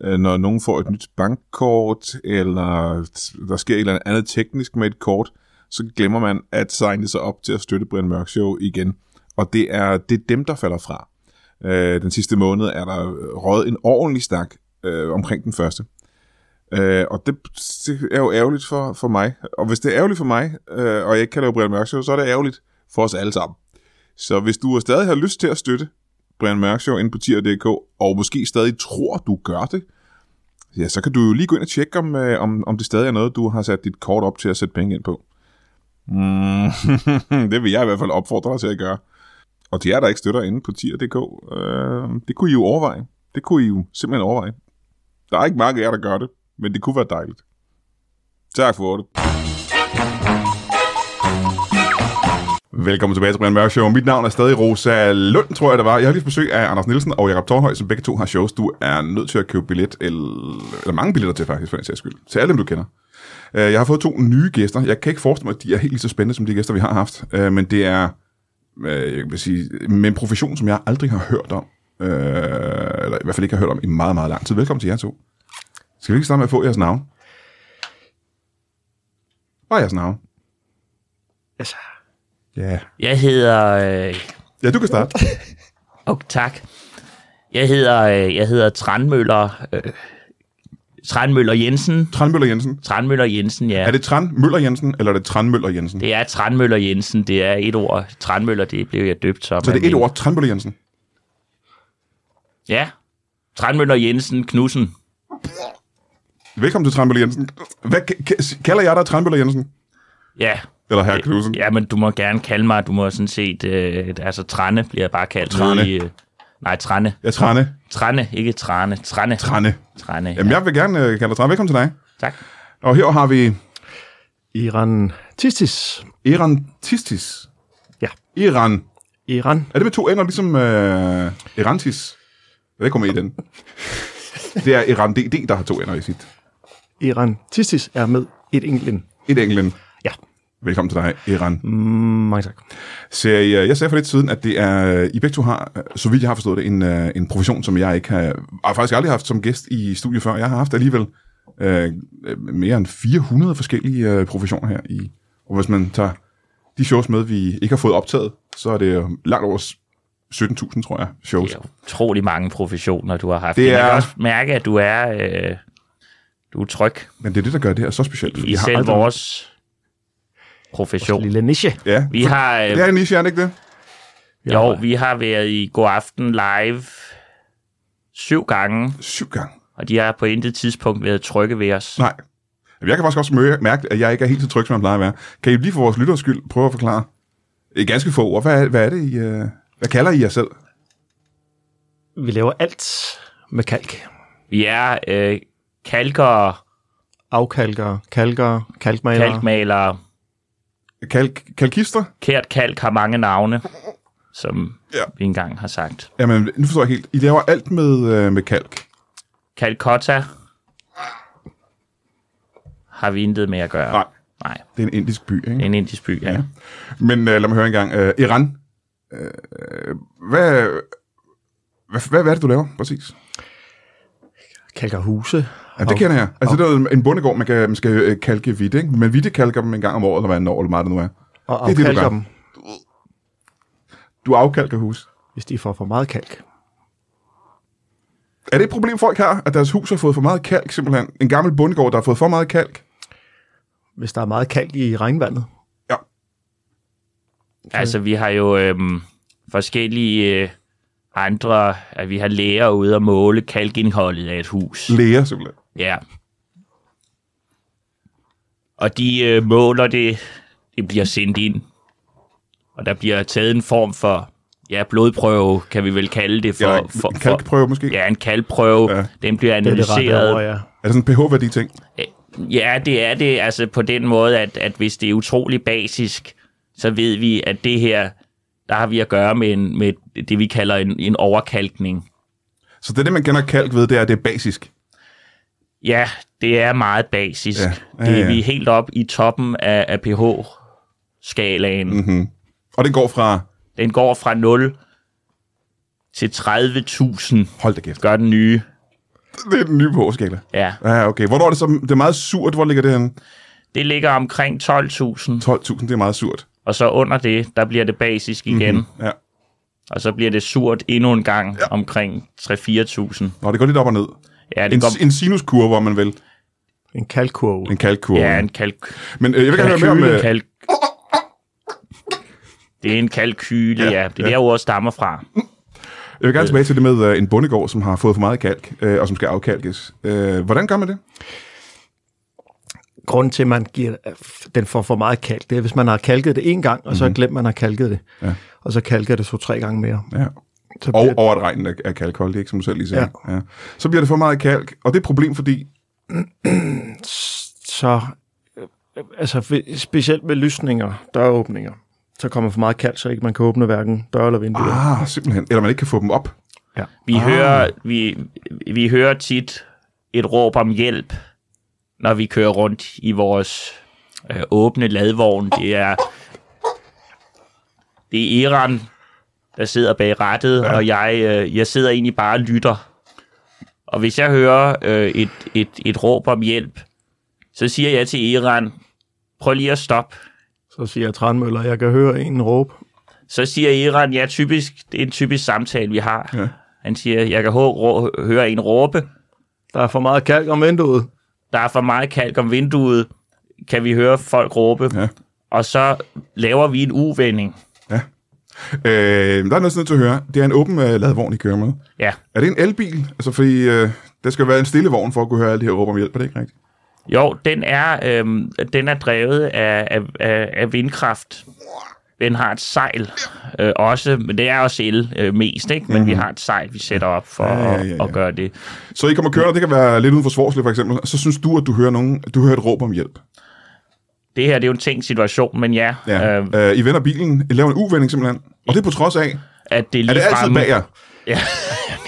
Speaker 1: øh, når nogen får et nyt bankkort, eller t- der sker et eller andet teknisk med et kort, så glemmer man at signe sig op til at støtte Brian Mørk Show igen. Og det er, det er dem, der falder fra. Øh, den sidste måned er der øh, røget en ordentlig stak øh, omkring den første. Øh, og det, det er jo ærgerligt for, for mig. Og hvis det er ærgerligt for mig, øh, og jeg ikke kan lave Brian Mørk Show, så er det ærgerligt for os alle sammen. Så hvis du stadig har lyst til at støtte Brian Mørk Show inde på tier.dk, og måske stadig tror, du gør det, ja, så kan du jo lige gå ind og tjekke, om, øh, om, om det stadig er noget, du har sat dit kort op til at sætte penge ind på. Mm, det vil jeg i hvert fald opfordre dig til at gøre. Og de er der ikke støtter inde på tier.dk. Øh, det kunne I jo overveje. Det kunne I jo simpelthen overveje. Der er ikke mange af jer, der gør det, men det kunne være dejligt. Tak for det. Velkommen tilbage til Brian Mørk Show. Mit navn er stadig Rosa Lund, tror jeg det var. Jeg har lige besøg af Anders Nielsen og Jakob Torhøj, som begge to har shows. Du er nødt til at købe billet, eller, eller mange billetter til faktisk, for den sags skyld. Til alle dem, du kender. Øh, Jeg har fået to nye gæster. Jeg kan ikke forestille mig, at de er helt lige så spændende, som de gæster, vi har haft. Øh, Men det er øh, jeg vil sige, med en profession, som jeg aldrig har hørt om, øh, eller i hvert fald ikke har hørt om i meget, meget lang tid. Velkommen til jer to. Skal vi ikke starte med at få jeres navn? Bare jeres navn.
Speaker 3: Altså,
Speaker 1: Ja. Yeah.
Speaker 2: Jeg hedder... Øh,
Speaker 1: Ja, du kan starte.
Speaker 2: og tak. Jeg hedder, øh, jeg hedder Tranmøller, øh, Tranmøller Jensen.
Speaker 1: Tranmøller Jensen.
Speaker 2: Tranmøller Jensen, ja.
Speaker 1: Er det Tran Møller Jensen, eller er det Tran Møller Jensen?
Speaker 2: Det er Tranmøller Jensen, det er et ord. Tranmøller, det blev jeg døbt som.
Speaker 1: så det er
Speaker 2: af
Speaker 1: et
Speaker 2: min-
Speaker 1: ord, Tran Møller Jensen.
Speaker 2: Ja. Tranmøller Jensen Knudsen.
Speaker 1: Velkommen til Tran Møller Jensen. Hvad ka- ka- kalder jeg dig Tran Møller Jensen?
Speaker 2: Ja.
Speaker 1: Eller herr Knudsen?
Speaker 2: Øh, Ja, men du må gerne kalde mig, du må sådan set, øh, altså Tranne bliver jeg bare kaldt. nede
Speaker 1: Tranne.
Speaker 2: I, øh, nej, Tranne.
Speaker 1: Jeg er Trane.
Speaker 2: Tranne, ikke Tranne. Tranne.
Speaker 1: Trane.
Speaker 2: Tranne, ja.
Speaker 1: Jamen, jeg vil gerne øh, kalde dig Trane. Velkommen til dig.
Speaker 2: Tak.
Speaker 1: Og her har vi
Speaker 3: Iran Tistis.
Speaker 1: Iran Tistis.
Speaker 3: Ja.
Speaker 1: Iran.
Speaker 3: Iran.
Speaker 1: Er det med to ender, ligesom øh, Erantis? Jeg kommer i den. Det er Iran DD, der har to ender i sit.
Speaker 3: Iran Tistis er med et enkelt ind.
Speaker 1: Et enkelt end.
Speaker 3: Ja.
Speaker 1: Velkommen til dig, Iran.
Speaker 3: Mange tak.
Speaker 1: Ser I, øh, jeg sagde for lidt siden, at det er, I begge to har, øh, så vidt jeg har forstået det, en, øh, en profession, som jeg ikke har, og faktisk aldrig har haft som gæst i studiet før. Jeg har haft alligevel øh, øh, mere end 400 forskellige øh, professioner her i. Og hvis man tager de shows med, vi ikke har fået optaget, så er det jo langt over s- 17.000, tror jeg, shows.
Speaker 2: Det er utrolig mange professioner, du har haft.
Speaker 1: Det
Speaker 2: Det er... Jeg
Speaker 1: er-
Speaker 2: kan også mærke, at du er, øh, du er tryg
Speaker 1: Men det er det, der gør det her så specielt. fordi
Speaker 2: i
Speaker 1: vi har
Speaker 2: selv
Speaker 1: aldrig-
Speaker 2: vores profession.
Speaker 3: Lille niche.
Speaker 1: Ja,
Speaker 2: Vi har, øh,
Speaker 1: det er en niche, er det ikke det?
Speaker 2: jo, vi har været i God Aften Live syv gange,
Speaker 1: Syv gange.
Speaker 2: og de har på intet tidspunkt været trygge ved os.
Speaker 1: Nej. Jamen, Jeg kan faktisk også mø- mærke, at jeg ikke er helt så tryg, som jeg plejer at være. Kan I lige for vores lytters skyld prøve at forklare i ganske få ord, hvad, er- hvad er det, I, øh, hvad kalder I jer selv?
Speaker 3: Vi laver alt med kalk.
Speaker 2: Vi er øh, kalkere,
Speaker 3: Afkalkere, kalkere, kalkmalere.
Speaker 2: kalkmalere.
Speaker 1: Kalk- kalkister?
Speaker 2: Kært kalk har mange navne, som
Speaker 1: Ja.
Speaker 2: ja. vi engang har sagt.
Speaker 1: Jamen, nu forstår jeg ikke helt. I laver alt med, øh, med kalk.
Speaker 2: Calcutta har vi intet med at gøre.
Speaker 1: Nej.
Speaker 2: Nej.
Speaker 1: Det er en indisk by, ikke?
Speaker 2: En indisk by, ja. ja.
Speaker 1: Men øh, lad mig høre en gang. Øh, Iran. Øh, hvad, hvad, hvad, hvad er det, du laver, præcis?
Speaker 3: Kalkerhuse.
Speaker 1: Ja, det kender jeg. Altså, det er jo en bondegård, man, kan, man skal øh, kalke hvidt, ikke? Men hvidt kalker dem en gang om året, eller hvad en år, eller meget det nu er.
Speaker 3: Og
Speaker 1: Det er det, du
Speaker 3: afkalker
Speaker 1: gør.
Speaker 3: dem,
Speaker 1: Du afkalker hus.
Speaker 3: hvis de får for meget kalk.
Speaker 1: Er det et problem, folk har, at deres hus har fået for meget kalk, simpelthen? En gammel bondegård, der har fået for meget kalk?
Speaker 3: Hvis der er meget kalk i regnvandet.
Speaker 1: Ja.
Speaker 2: Altså, vi har jo øhm, forskellige øh, andre... At vi har læger ude og måle kalkindholdet af et hus.
Speaker 1: Læger, simpelthen.
Speaker 2: Ja. Og de øh, måler det, det bliver sendt ind. Og der bliver taget en form for, ja, blodprøve, kan vi vel kalde det for.
Speaker 1: Eller
Speaker 2: for, for
Speaker 1: en kalkprøve, måske?
Speaker 2: Ja, en kalkprøve.
Speaker 1: Ja.
Speaker 2: Ja. Den bliver
Speaker 3: Det er det rette ord,
Speaker 2: analyseret. Øh,
Speaker 3: ja.
Speaker 1: Er det sådan en pH-værdi-ting?
Speaker 2: Ja, det er det. Altså på den måde, at, at hvis det er utrolig basisk, så ved vi, at det her, der har vi at gøre med, en, med det, vi kalder en, en overkalkning.
Speaker 1: Så det, er det, man kender kalk ved, det er, at det er basisk.
Speaker 2: Ja, det er meget basisk.
Speaker 1: Ja. Ja,
Speaker 2: Ja. Ja, ja. Det,
Speaker 1: ja.
Speaker 2: er vi er helt op i toppen af, af pH-skalaen.
Speaker 1: Mhm.
Speaker 2: Mm.
Speaker 1: Og det går fra...
Speaker 2: Den går fra 0 til 30.000,
Speaker 1: Hold da kæft.
Speaker 2: gør den nye.
Speaker 1: Det er den nye pH-skala.
Speaker 2: Ja,
Speaker 1: Ja, okay. Hvornår er det så... Det er meget surt. Hvor ligger det henne?
Speaker 2: det ligger omkring 12.000,
Speaker 1: 12.000, det er meget surt.
Speaker 2: og så under det, der bliver det basisk
Speaker 1: Mhm.
Speaker 2: igen. Mm-hmm.
Speaker 1: Ja.
Speaker 2: Og så bliver det surt endnu en gang ja. omkring 3-4.000.
Speaker 1: Nå, det går lidt op og ned.
Speaker 2: Ja,
Speaker 1: En,
Speaker 2: det går...
Speaker 1: en sinuskurve, hvor man vil.
Speaker 3: En kalkkurve.
Speaker 1: En kalkkurve.
Speaker 2: Ja, en kalk...
Speaker 1: Men øh, jeg vil gerne høre mere om...
Speaker 2: kalkyle.
Speaker 1: Øh,
Speaker 2: Kalk... Det er en kalkyle,
Speaker 1: Ja,
Speaker 2: ja. ja. Det er
Speaker 1: ja.
Speaker 2: ja. der ordet stammer fra.
Speaker 1: jeg vil gerne tilbage til det med øh, en bondegård, som har fået for meget kalk, øh, og som skal afkalkes. Øh, hvordan gør man det?
Speaker 3: grund til, at man giver, at den får for meget kalk, det er, hvis man har kalket det en gang, og så
Speaker 1: Mhm.
Speaker 3: mm-hmm. glemt, man har kalket det. Ja. Og så kalker det to-tre gange mere.
Speaker 1: Ja.
Speaker 3: Så
Speaker 1: Og
Speaker 3: bliver,
Speaker 1: over at regnen er, er kalkholdig, ikke, som du selv lige sagde. Ja. Ja. Så bliver det for meget kalk, og det er et problem, fordi...
Speaker 3: så, øh, altså fe- specielt med lysninger, døråbninger, så kommer for meget kalk, så ikke man kan åbne hverken døre eller vinduer.
Speaker 1: Ah, simpelthen. Eller man ikke kan få dem op.
Speaker 3: Ja.
Speaker 2: Vi, ah. hører, vi, vi hører tit et råb om hjælp, når vi kører rundt i vores øh, åbne ladvogn. Det er, det er Iran, der sidder bag rattet, ja. og jeg, øh, jeg sidder egentlig bare og lytter. Og hvis jeg hører øh, et, et, et råb om hjælp, så siger jeg til Iran, prøv lige at stoppe.
Speaker 3: Så siger jeg Tranmøller, jeg kan høre en råbe.
Speaker 2: Så siger Iran, ja, typisk, det er en typisk samtale, vi har.
Speaker 1: Ja.
Speaker 2: Han siger, jeg kan hå- rå- høre en råbe.
Speaker 3: Der er for meget kalk om vinduet.
Speaker 2: Der er for meget kalk om vinduet. Kan vi høre folk råbe?
Speaker 1: Ja.
Speaker 2: Og så laver vi en uvending.
Speaker 1: Øh, der er noget sådan til at høre. Det er en åben øh, ladvogn, I kører med.
Speaker 2: Ja.
Speaker 1: Er det en elbil? Altså, fordi øh, der skal jo være en stille vogn for at kunne høre alle de her råb om hjælp, er det ikke rigtigt?
Speaker 2: Jo, den er, øhm, den er drevet af, af, af, af vindkraft. Den har et sejl øh, også, men det er også el øh, mest, ikke? Men vi har et sejl, vi sætter op for ja, ja, ja, ja. at gøre det.
Speaker 1: Så I kommer kørende, det kan være lidt uden for Svorsle for eksempel, og så synes du, at du hører, nogen, du hører et råb om hjælp.
Speaker 2: Det her det er jo en tænkt situation, men ja,
Speaker 1: Ja.
Speaker 2: Øh,
Speaker 1: Øh, I vender bilen, I laver en uvending simpelthen, og det er på trods af,
Speaker 2: at det er lige
Speaker 1: er det altid
Speaker 2: fremme.
Speaker 1: bag jer?
Speaker 2: Ja.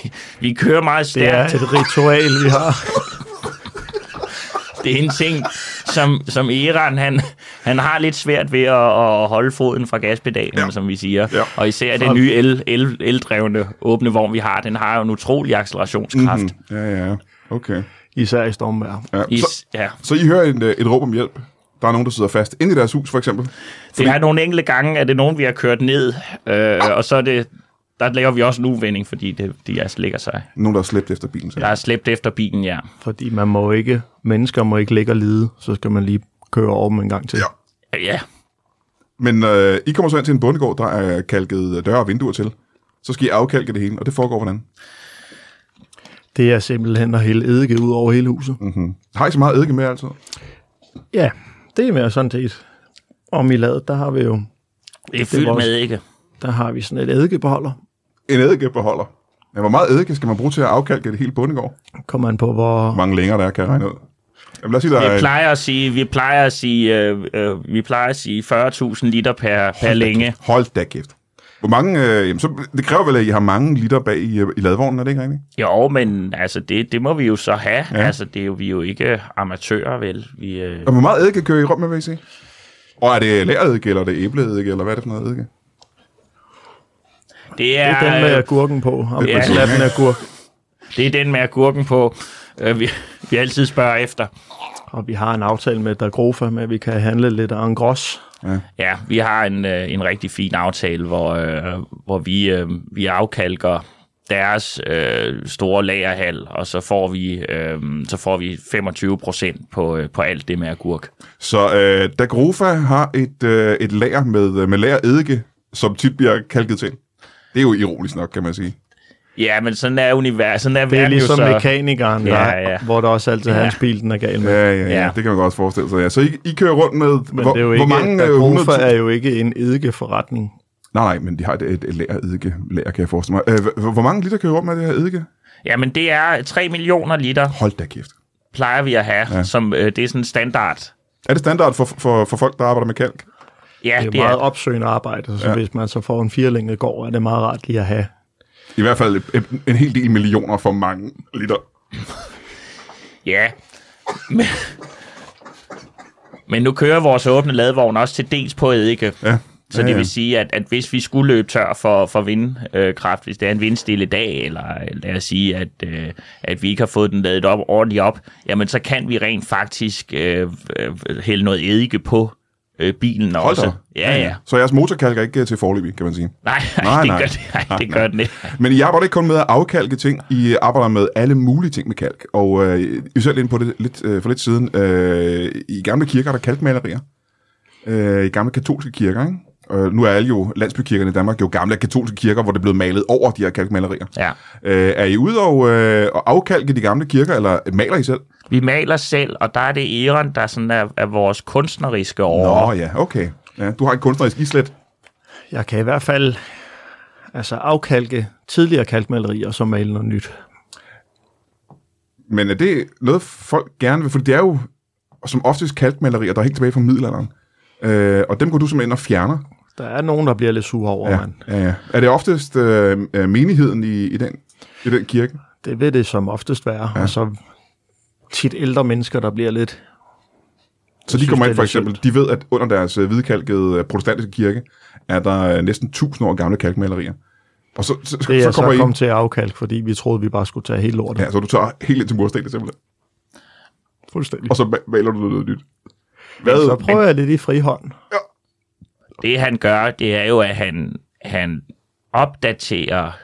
Speaker 2: vi- vi kører meget
Speaker 3: Det er
Speaker 2: stærkt. Det
Speaker 3: et ritual, vi har.
Speaker 2: er, det er en ting, som, som Iran, han, han har lidt svært ved at, at holde foden fra gaspedalen, ja. som vi siger.
Speaker 1: Ja.
Speaker 2: Ja. Og især den nye el, el, eldrevne åbne vogn, vi har, den har jo en utrolig accelerationskraft. Mm-hmm.
Speaker 1: Ja, ja, ja. Okay.
Speaker 3: Især i stormvejr.
Speaker 1: Ja. Mhm. Så,
Speaker 2: Is, ja.
Speaker 1: så I hører et, øh, et råb om hjælp. Der er nogen, der sidder fast inde i deres hus, for eksempel.
Speaker 2: Det er nogle enkelte gange, at det er nogen, vi har kørt ned, øh, og så er det, der laver vi også en uvending, fordi det, de altså ligger sig.
Speaker 1: Nogen, der har slæbt efter bilen. Så.
Speaker 2: Der er slæbt efter bilen, ja.
Speaker 3: Fordi man må ikke, mennesker må ikke ligge og lide, så skal man lige køre over dem en gang til.
Speaker 1: Ja.
Speaker 2: Ja,
Speaker 1: Men øh, I kommer så ind til en bondegård, der er kalket døre og vinduer til. Så skal I afkalke det hele, og det foregår hvordan?
Speaker 3: Det er simpelthen at hælde eddike ud over hele huset. Mm.
Speaker 1: Har I så meget eddike med altid?
Speaker 3: Ja, det er mere sådan set. Om i ladet, der har vi jo
Speaker 2: det er fyldt
Speaker 3: vores-
Speaker 2: med, ikke?
Speaker 3: der har vi sådan et eddikebeholder.
Speaker 1: En eddikebeholder. Men hvor meget eddike skal man bruge til at afkalke det hele bondegård?
Speaker 3: Kommer an på, hvor...
Speaker 1: Hvor mange længere der er, kan jeg regne ud. Jamen, lad os sige, der
Speaker 2: Vi
Speaker 1: er...
Speaker 2: plejer at sige, vi plejer at sige, øh, øh, vi plejer at sige 40.000 liter per, per længe.
Speaker 1: Hold da kæft. Hvor mange... Øh, jamen, så, det kræver vel, at I har mange liter bag i, øh, i ladvognen, er det ikke rigtigt?
Speaker 2: Jo, men altså, det, det må vi jo så have.
Speaker 1: Ja.
Speaker 2: Ja. Altså, det er jo, vi er jo ikke amatører, vel? Vi, øh,
Speaker 1: Og hvor meget eddike kører I rundt med, vil I sige? Og er det læreddike, eller er det æbleeddike, eller hvad er det for noget eddike?
Speaker 2: det,
Speaker 3: Det
Speaker 2: er,
Speaker 3: er den med
Speaker 2: øh,
Speaker 3: agurken på. Om
Speaker 2: Ja.
Speaker 3: ja. Slappen af agurk.
Speaker 2: det er den med agurken på, øh, vi, vi altid spørger efter.
Speaker 3: Og vi har en aftale med Dagrofa med, at vi kan handle lidt af en gros.
Speaker 2: Ja, vi har en, øh, en rigtig fin aftale, hvor, øh, hvor vi, øh, vi afkalker deres øh, store lagerhal, og så får vi, øh, så får vi 25 procent på, øh, på alt det med agurk.
Speaker 1: Så øh, Dagrofa har et, øh, et lager med, øh, med lager eddike, som tit bliver kalket til. Det er jo ironisk nok, kan man sige.
Speaker 2: Ja, men sådan er universet. Sådan er
Speaker 3: Det er
Speaker 2: verden
Speaker 3: ligesom
Speaker 2: jo så...
Speaker 3: mekanikeren, der,
Speaker 2: Ja, ja.
Speaker 3: hvor der også altid er
Speaker 2: Ja.
Speaker 3: hans bil, den er gal med.
Speaker 1: Ja, ja, ja,
Speaker 2: Ja.
Speaker 1: det kan man godt forestille sig. Ja. Så I, I kører rundt med
Speaker 3: Men
Speaker 1: hvor,
Speaker 3: det er jo
Speaker 1: hvor
Speaker 3: ikke,
Speaker 1: mange øh,
Speaker 3: Dagrofa
Speaker 1: 100.000
Speaker 3: er jo ikke en eddikeforretning.
Speaker 1: Nej, nej, men de har et, et, et lager eddike, lager, kan jeg forestille mig. Øh, hvor, hvor mange liter kører I rundt med det her eddike?
Speaker 2: Jamen, det er 3 millioner liter,
Speaker 1: Hold da kæft.
Speaker 2: plejer vi at have,
Speaker 1: Ja.
Speaker 2: ja. som øh, det er sådan standard.
Speaker 1: Er det standard for, for, for folk, der arbejder med kalk?
Speaker 2: Ja,
Speaker 3: Det er jo meget opsøgende arbejde, så
Speaker 1: Ja.
Speaker 3: ja. hvis man så får en firlænget gård, er det meget rart lige at have.
Speaker 1: I hvert fald en, en hel del millioner for mange liter.
Speaker 2: Ja. Men, men nu kører vores åbne ladvogn også til dels på eddike.
Speaker 1: Ja.
Speaker 2: Så
Speaker 1: ja,
Speaker 2: det
Speaker 1: ja.
Speaker 2: vil sige, at, at hvis vi skulle løbe tør for, for vindkraft, hvis det er en vindstille dag, eller lad os sige, at, øh, at vi ikke har fået den ladet op ordentligt op, jamen så kan vi rent faktisk øh, øh, hælde noget eddike på øh, bilen
Speaker 1: Hold da.
Speaker 2: også. Ja, ja.
Speaker 1: Så jeres motorkalk er ikke øh, til forløbig, kan man sige.
Speaker 2: Nej,
Speaker 1: Nej,
Speaker 2: nej, det
Speaker 1: nej.
Speaker 2: gør det, nej, det, gør den ikke.
Speaker 1: Men I arbejder ikke kun med at afkalke ting, I arbejder med alle mulige ting med kalk. Og øh, I selv ind på det lidt, øh, for lidt siden. Øh, I gamle kirker er der kalkmalerier. Øh, I gamle katolske kirker, ikke? Øh, nu er alle jo, landsbykirkerne i Danmark, jo gamle katolske kirker, hvor det er blevet malet over de her kalkmalerier.
Speaker 2: Ja.
Speaker 1: Øh, er I ude og, øh, og afkalke de gamle kirker, eller maler I selv?
Speaker 2: Vi maler selv, og der er det Eron, der sådan er, er vores kunstneriske år.
Speaker 1: Nå ja, okay. Ja, du har et kunstnerisk islet.
Speaker 3: Jeg kan i hvert fald altså afkalke tidligere kalkmalerier, og så male noget nyt.
Speaker 1: Men er det noget, folk gerne vil? For det er jo som oftest kalkmalerier, der er helt tilbage fra middelalderen. Øh, og dem går du simpelthen ind og fjerner.
Speaker 3: Der er nogen, der bliver lidt sure over, ja.
Speaker 1: Ja,
Speaker 3: mand.
Speaker 1: ja, ja. Er det oftest øh, øh, menigheden i, i, den, i den kirke?
Speaker 3: Det vil det som oftest være. Ja. Og så tit ældre mennesker, der bliver lidt...
Speaker 1: Så de
Speaker 3: synes,
Speaker 1: kommer
Speaker 3: det
Speaker 1: ind
Speaker 3: er
Speaker 1: for
Speaker 3: lidt
Speaker 1: eksempel, de ved, at under deres øh, hvidkalkede øh, protestantiske kirke, er der øh, næsten 1000 år gamle kalkmalerier. Og så, så, så,
Speaker 3: Det er
Speaker 1: så kommer
Speaker 3: så
Speaker 1: I...
Speaker 3: kommet til at afkalke, fordi vi troede, vi bare skulle tage hele lortet. Ja.
Speaker 1: Ja, så du tager helt ind til murstenet simpelthen,
Speaker 3: Fuldstændig.
Speaker 1: og så ma- maler du noget nyt.
Speaker 3: Så
Speaker 1: Hvad?
Speaker 3: prøver jeg lidt i frihånd.
Speaker 2: Det han gør, det er jo, at han, han opdaterer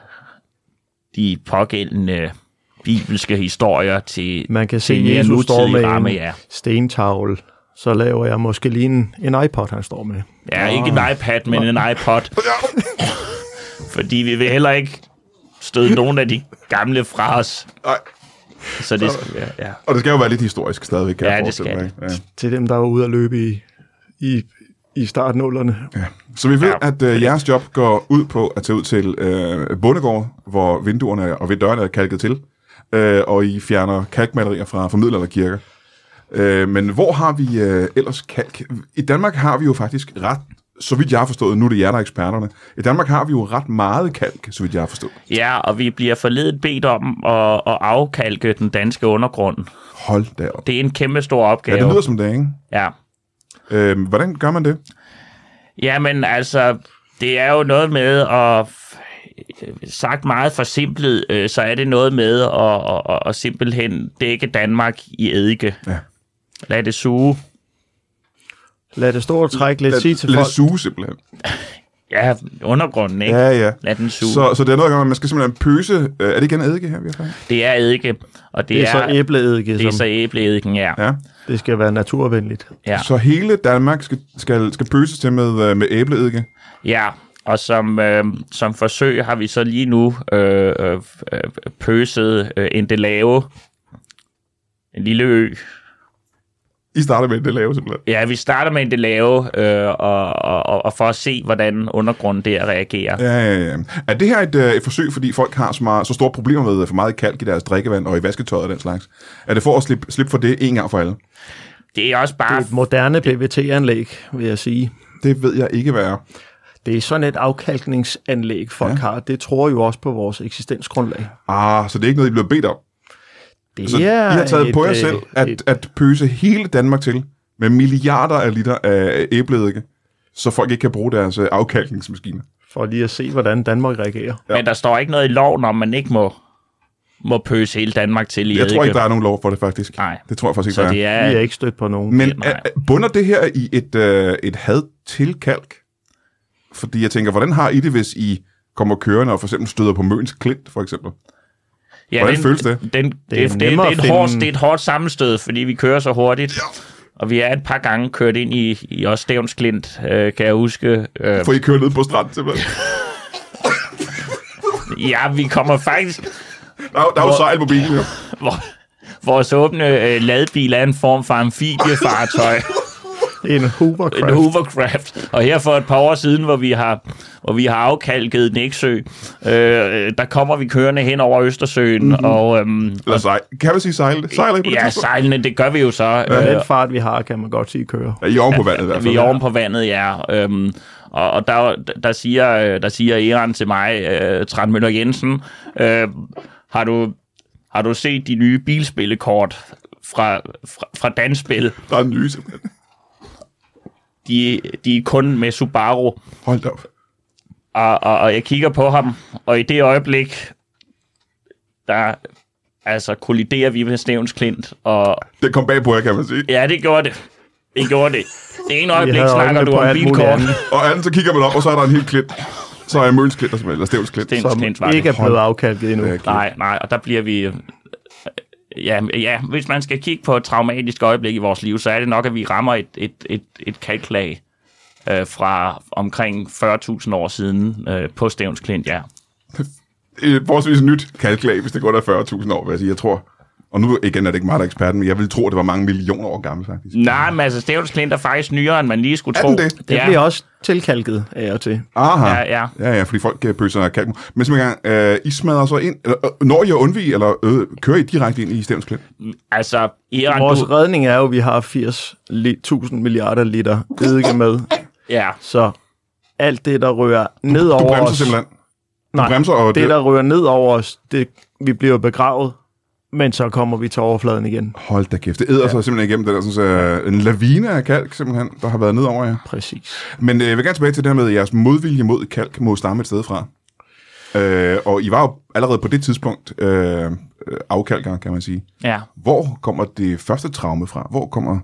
Speaker 2: de pågældende bibelske historier til
Speaker 3: Man kan se,
Speaker 2: til mere
Speaker 3: at Jesus står
Speaker 2: nutidige
Speaker 3: med
Speaker 2: ramme,
Speaker 3: en
Speaker 2: ja.
Speaker 3: stentavle. Så laver jeg måske lige en, en iPod, han står med.
Speaker 2: Ja, ikke en iPad, men en iPod. Fordi vi vil heller ikke støde nogen af de gamle fra os.
Speaker 1: Nej.
Speaker 2: Så det skal være, ja.
Speaker 1: Og det skal jo være lidt historisk stadigvæk, kan
Speaker 2: Ja,
Speaker 1: jeg
Speaker 2: det
Speaker 1: forestille
Speaker 2: skal
Speaker 1: mig, ikke? Ja.
Speaker 3: Til dem, der var ude at løbe i, i, i startnullerne.
Speaker 1: Ja. Så vi ved, ja.
Speaker 2: Ja.
Speaker 1: at øh, jeres job går ud på at tage ud til øh, bondegård, hvor vinduerne og ved dørene er kalket til, øh, og I fjerner kalkmalerier fra, fra middelalderkirker. Øh, men hvor har vi øh, ellers kalk? I Danmark har vi jo faktisk ret, så vidt jeg har forstået, nu er det jer, der er eksperterne. I Danmark har vi jo ret meget kalk, så vidt jeg har forstået.
Speaker 2: ja, og vi bliver forledet bedt om at, at afkalke den danske undergrund.
Speaker 1: Hold da op.
Speaker 2: Det er en kæmpe stor
Speaker 1: Ja,
Speaker 2: opgave.
Speaker 1: det lyder som det, ikke?
Speaker 2: ja.
Speaker 1: Øh, hvordan gør man det?
Speaker 2: Jamen altså, det er jo noget med at sagt meget forsimplet, øh, så er det noget med at, at, at, at simpelthen dække Danmark i eddike.
Speaker 1: Ja.
Speaker 2: Lad det suge.
Speaker 3: Lad det stå og trække lidt. Sig til
Speaker 1: Lad
Speaker 3: folk,
Speaker 1: det suge, simpelthen.
Speaker 2: Ja, undergrunden, ikke?
Speaker 1: Ja, ja.
Speaker 2: Lad den suge. Så...
Speaker 1: Så, så det er noget, at gøre, man skal simpelthen pøse. Øh, er det igen eddike her, vi har fået?
Speaker 2: Det er eddike, og det,
Speaker 3: det er så
Speaker 2: æble,
Speaker 3: æbleeddike,
Speaker 2: det er
Speaker 3: som
Speaker 2: så æbleeddiken, ja.
Speaker 1: Ja.
Speaker 3: det skal være naturvenligt.
Speaker 2: ja.
Speaker 1: Så hele Danmark skal, skal, skal pøses til med, øh, med æbleeddike.
Speaker 2: Ja, og som, øh, som forsøg har vi så lige nu øh, øh, øh, pøset øh, en delave, en lille ø.
Speaker 1: I starter med det lave simpelthen.
Speaker 2: Ja, vi starter med en delave, øh, og, og, og- og for at se, hvordan undergrunden der reagerer.
Speaker 1: Ja, ja, ja. Er det her et, øh, et forsøg, fordi folk har så, meget, så store problemer med øh, for meget kalk i deres drikkevand og i vasketøjet og den slags? Er det for at slippe, slippe for det en gang for alle?
Speaker 2: Det er også
Speaker 3: Det
Speaker 2: bare...
Speaker 3: er et moderne PVT-anlæg, vil jeg sige.
Speaker 1: Det ved jeg ikke, hvad er.
Speaker 3: Det er sådan et afkalkningsanlæg, folk ja. har. Det tror jo også på vores eksistensgrundlag.
Speaker 1: Ah, så det er ikke noget, I bliver bedt om.
Speaker 3: Det øh,
Speaker 1: Så Altså, I har taget
Speaker 2: øh,
Speaker 1: på jer selv at, at pøse hele Danmark til med milliarder af liter af æbleeddike, så folk ikke kan bruge deres øh, afkalkningsmaskiner.
Speaker 3: for lige at se, hvordan Danmark reagerer.
Speaker 2: Ja. Men der står ikke noget i loven, om man ikke må, må pøse hele Danmark til i
Speaker 1: Jeg
Speaker 2: eddike.
Speaker 1: tror ikke, der er nogen lov for det, faktisk.
Speaker 2: Nej.
Speaker 1: Det tror jeg faktisk ikke, der
Speaker 2: Så
Speaker 1: er.
Speaker 2: det
Speaker 3: Vi er
Speaker 2: er...
Speaker 3: ikke stødt på nogen.
Speaker 1: Men
Speaker 2: Ja, nej.
Speaker 1: er- er- bunder det her i et, øh, et had til kalk? Fordi jeg tænker, hvordan har I det, hvis I kommer kørende og for eksempel støder på Møns Klint, for eksempel?
Speaker 2: Ja,
Speaker 1: Hvordan føles det?
Speaker 2: Den, det, det, det, det,
Speaker 3: nemmere
Speaker 2: er
Speaker 3: at
Speaker 2: et hårdt,
Speaker 3: finde-
Speaker 2: det er et hårdt sammenstød, fordi vi kører så hurtigt. Og vi er et par gange kørt ind i, i også Stævns Klint, øh, kan jeg huske. Øh,
Speaker 1: For I kører ned på stranden, simpelthen.
Speaker 2: ja, vi kommer faktisk...
Speaker 1: Der er, jo- der er jo sejl på bilen, jo.
Speaker 2: Hvor, vores åbne øh, ladbil er en form for amfibiefartøj.
Speaker 3: En
Speaker 2: en
Speaker 3: hovercraft.
Speaker 2: hovercraft. Og her for et par år siden, hvor vi har, hvor vi har afkalket Næksø, øh, øh, der kommer vi kørende hen over Østersøen, mm-hmm. og øhm,
Speaker 1: Eller sejl. Kan man sige sejl? Mhm. Sejler I på det
Speaker 2: ja,
Speaker 1: tidspunkt?
Speaker 2: sejlene, det gør vi jo så.
Speaker 3: Med
Speaker 2: Ja,
Speaker 3: den fart, vi har, kan man godt sige køre.
Speaker 1: Ja, I er oven på vandet i hvert
Speaker 2: vi
Speaker 1: fald.
Speaker 2: er oven på vandet, ja. Øhm, og, og der, der, siger, øh, der siger Eran til mig, øh, Trandmøller Jensen, øh, har, du, har du set de nye bilspillekort fra, fra, fra Danspil?
Speaker 1: Der er en nye, simpelthen.
Speaker 2: De, de er kun med Subaru.
Speaker 1: Hold da op.
Speaker 2: og, og, og jeg kigger på ham, og i det øjeblik, der altså kolliderer vi med Stævns Klint, og
Speaker 1: Det kom bag på jer, kan man sige.
Speaker 2: ja, det gjorde det. Det gjorde det. Det ene øjeblik
Speaker 3: havde
Speaker 2: snakker
Speaker 3: øjnene
Speaker 2: du
Speaker 3: på
Speaker 2: om
Speaker 3: alt muligt
Speaker 2: bilkort.
Speaker 3: andet.
Speaker 1: Og anden, så kigger man op, og så er der en helt klint. Så er Møns Klint, der simpelthen- eller Stævns Klint.
Speaker 2: Stævns
Speaker 3: Som
Speaker 2: Klint var
Speaker 3: ikke
Speaker 2: det.
Speaker 3: er blevet afkalket endnu.
Speaker 1: Ja, klint.
Speaker 2: Nej, nej, og der bliver vi... øh, Ja, ja, hvis man skal kigge på et traumatisk øjeblik i vores liv, så er det nok, at vi rammer et, et, et, et kalklag øh, fra omkring 40.000 år siden øh, på Stævns Klint, ja.
Speaker 1: øh, forholdsvis nyt kalklag, hvis det går der 40.000 år, vil jeg sige. Jeg tror, og nu igen er det ikke mig, der er eksperten, men jeg vil tro, at det var mange millioner år gammel, faktisk.
Speaker 2: Nej, men altså, Stævns Klint er faktisk nyere, end man lige skulle
Speaker 1: Er
Speaker 2: tro.
Speaker 1: den det?
Speaker 3: Det bliver også tilkalket af og til.
Speaker 1: Aha.
Speaker 2: Ja, ja.
Speaker 1: ja, ja fordi folk øh, pøser kalk. Men som en gang, øh, I smadrer så ind, eller, øh, når I at undvige, eller øh, kører I direkte ind i Stævns Klint?
Speaker 2: Altså, Iran,
Speaker 3: Vores
Speaker 2: du,
Speaker 3: redning er jo, at vi har 80.000 milliarder liter eddike med.
Speaker 2: ja,
Speaker 3: Så alt det, der rører ned
Speaker 1: Du
Speaker 3: over
Speaker 1: bremser
Speaker 3: os...
Speaker 1: simpelthen.
Speaker 3: Nej,
Speaker 1: bremser, og
Speaker 3: det,
Speaker 1: det-
Speaker 3: der rører ned over os, det, vi bliver jo begravet, men så kommer vi til overfladen igen.
Speaker 1: Hold da kæft, det æder ja. sig simpelthen igennem den der sådan, så, øh, en lavine af kalk, simpelthen, der har været ned over jer.
Speaker 3: Præcis.
Speaker 1: Men øh, jeg vil gerne tilbage til det her med, at jeres modvilje mod kalk må stamme et sted fra. Øh, og I var jo allerede på det tidspunkt øh, øh, afkalkere, kan man sige.
Speaker 2: ja.
Speaker 1: Hvor kommer det første traume fra? Hvor kommer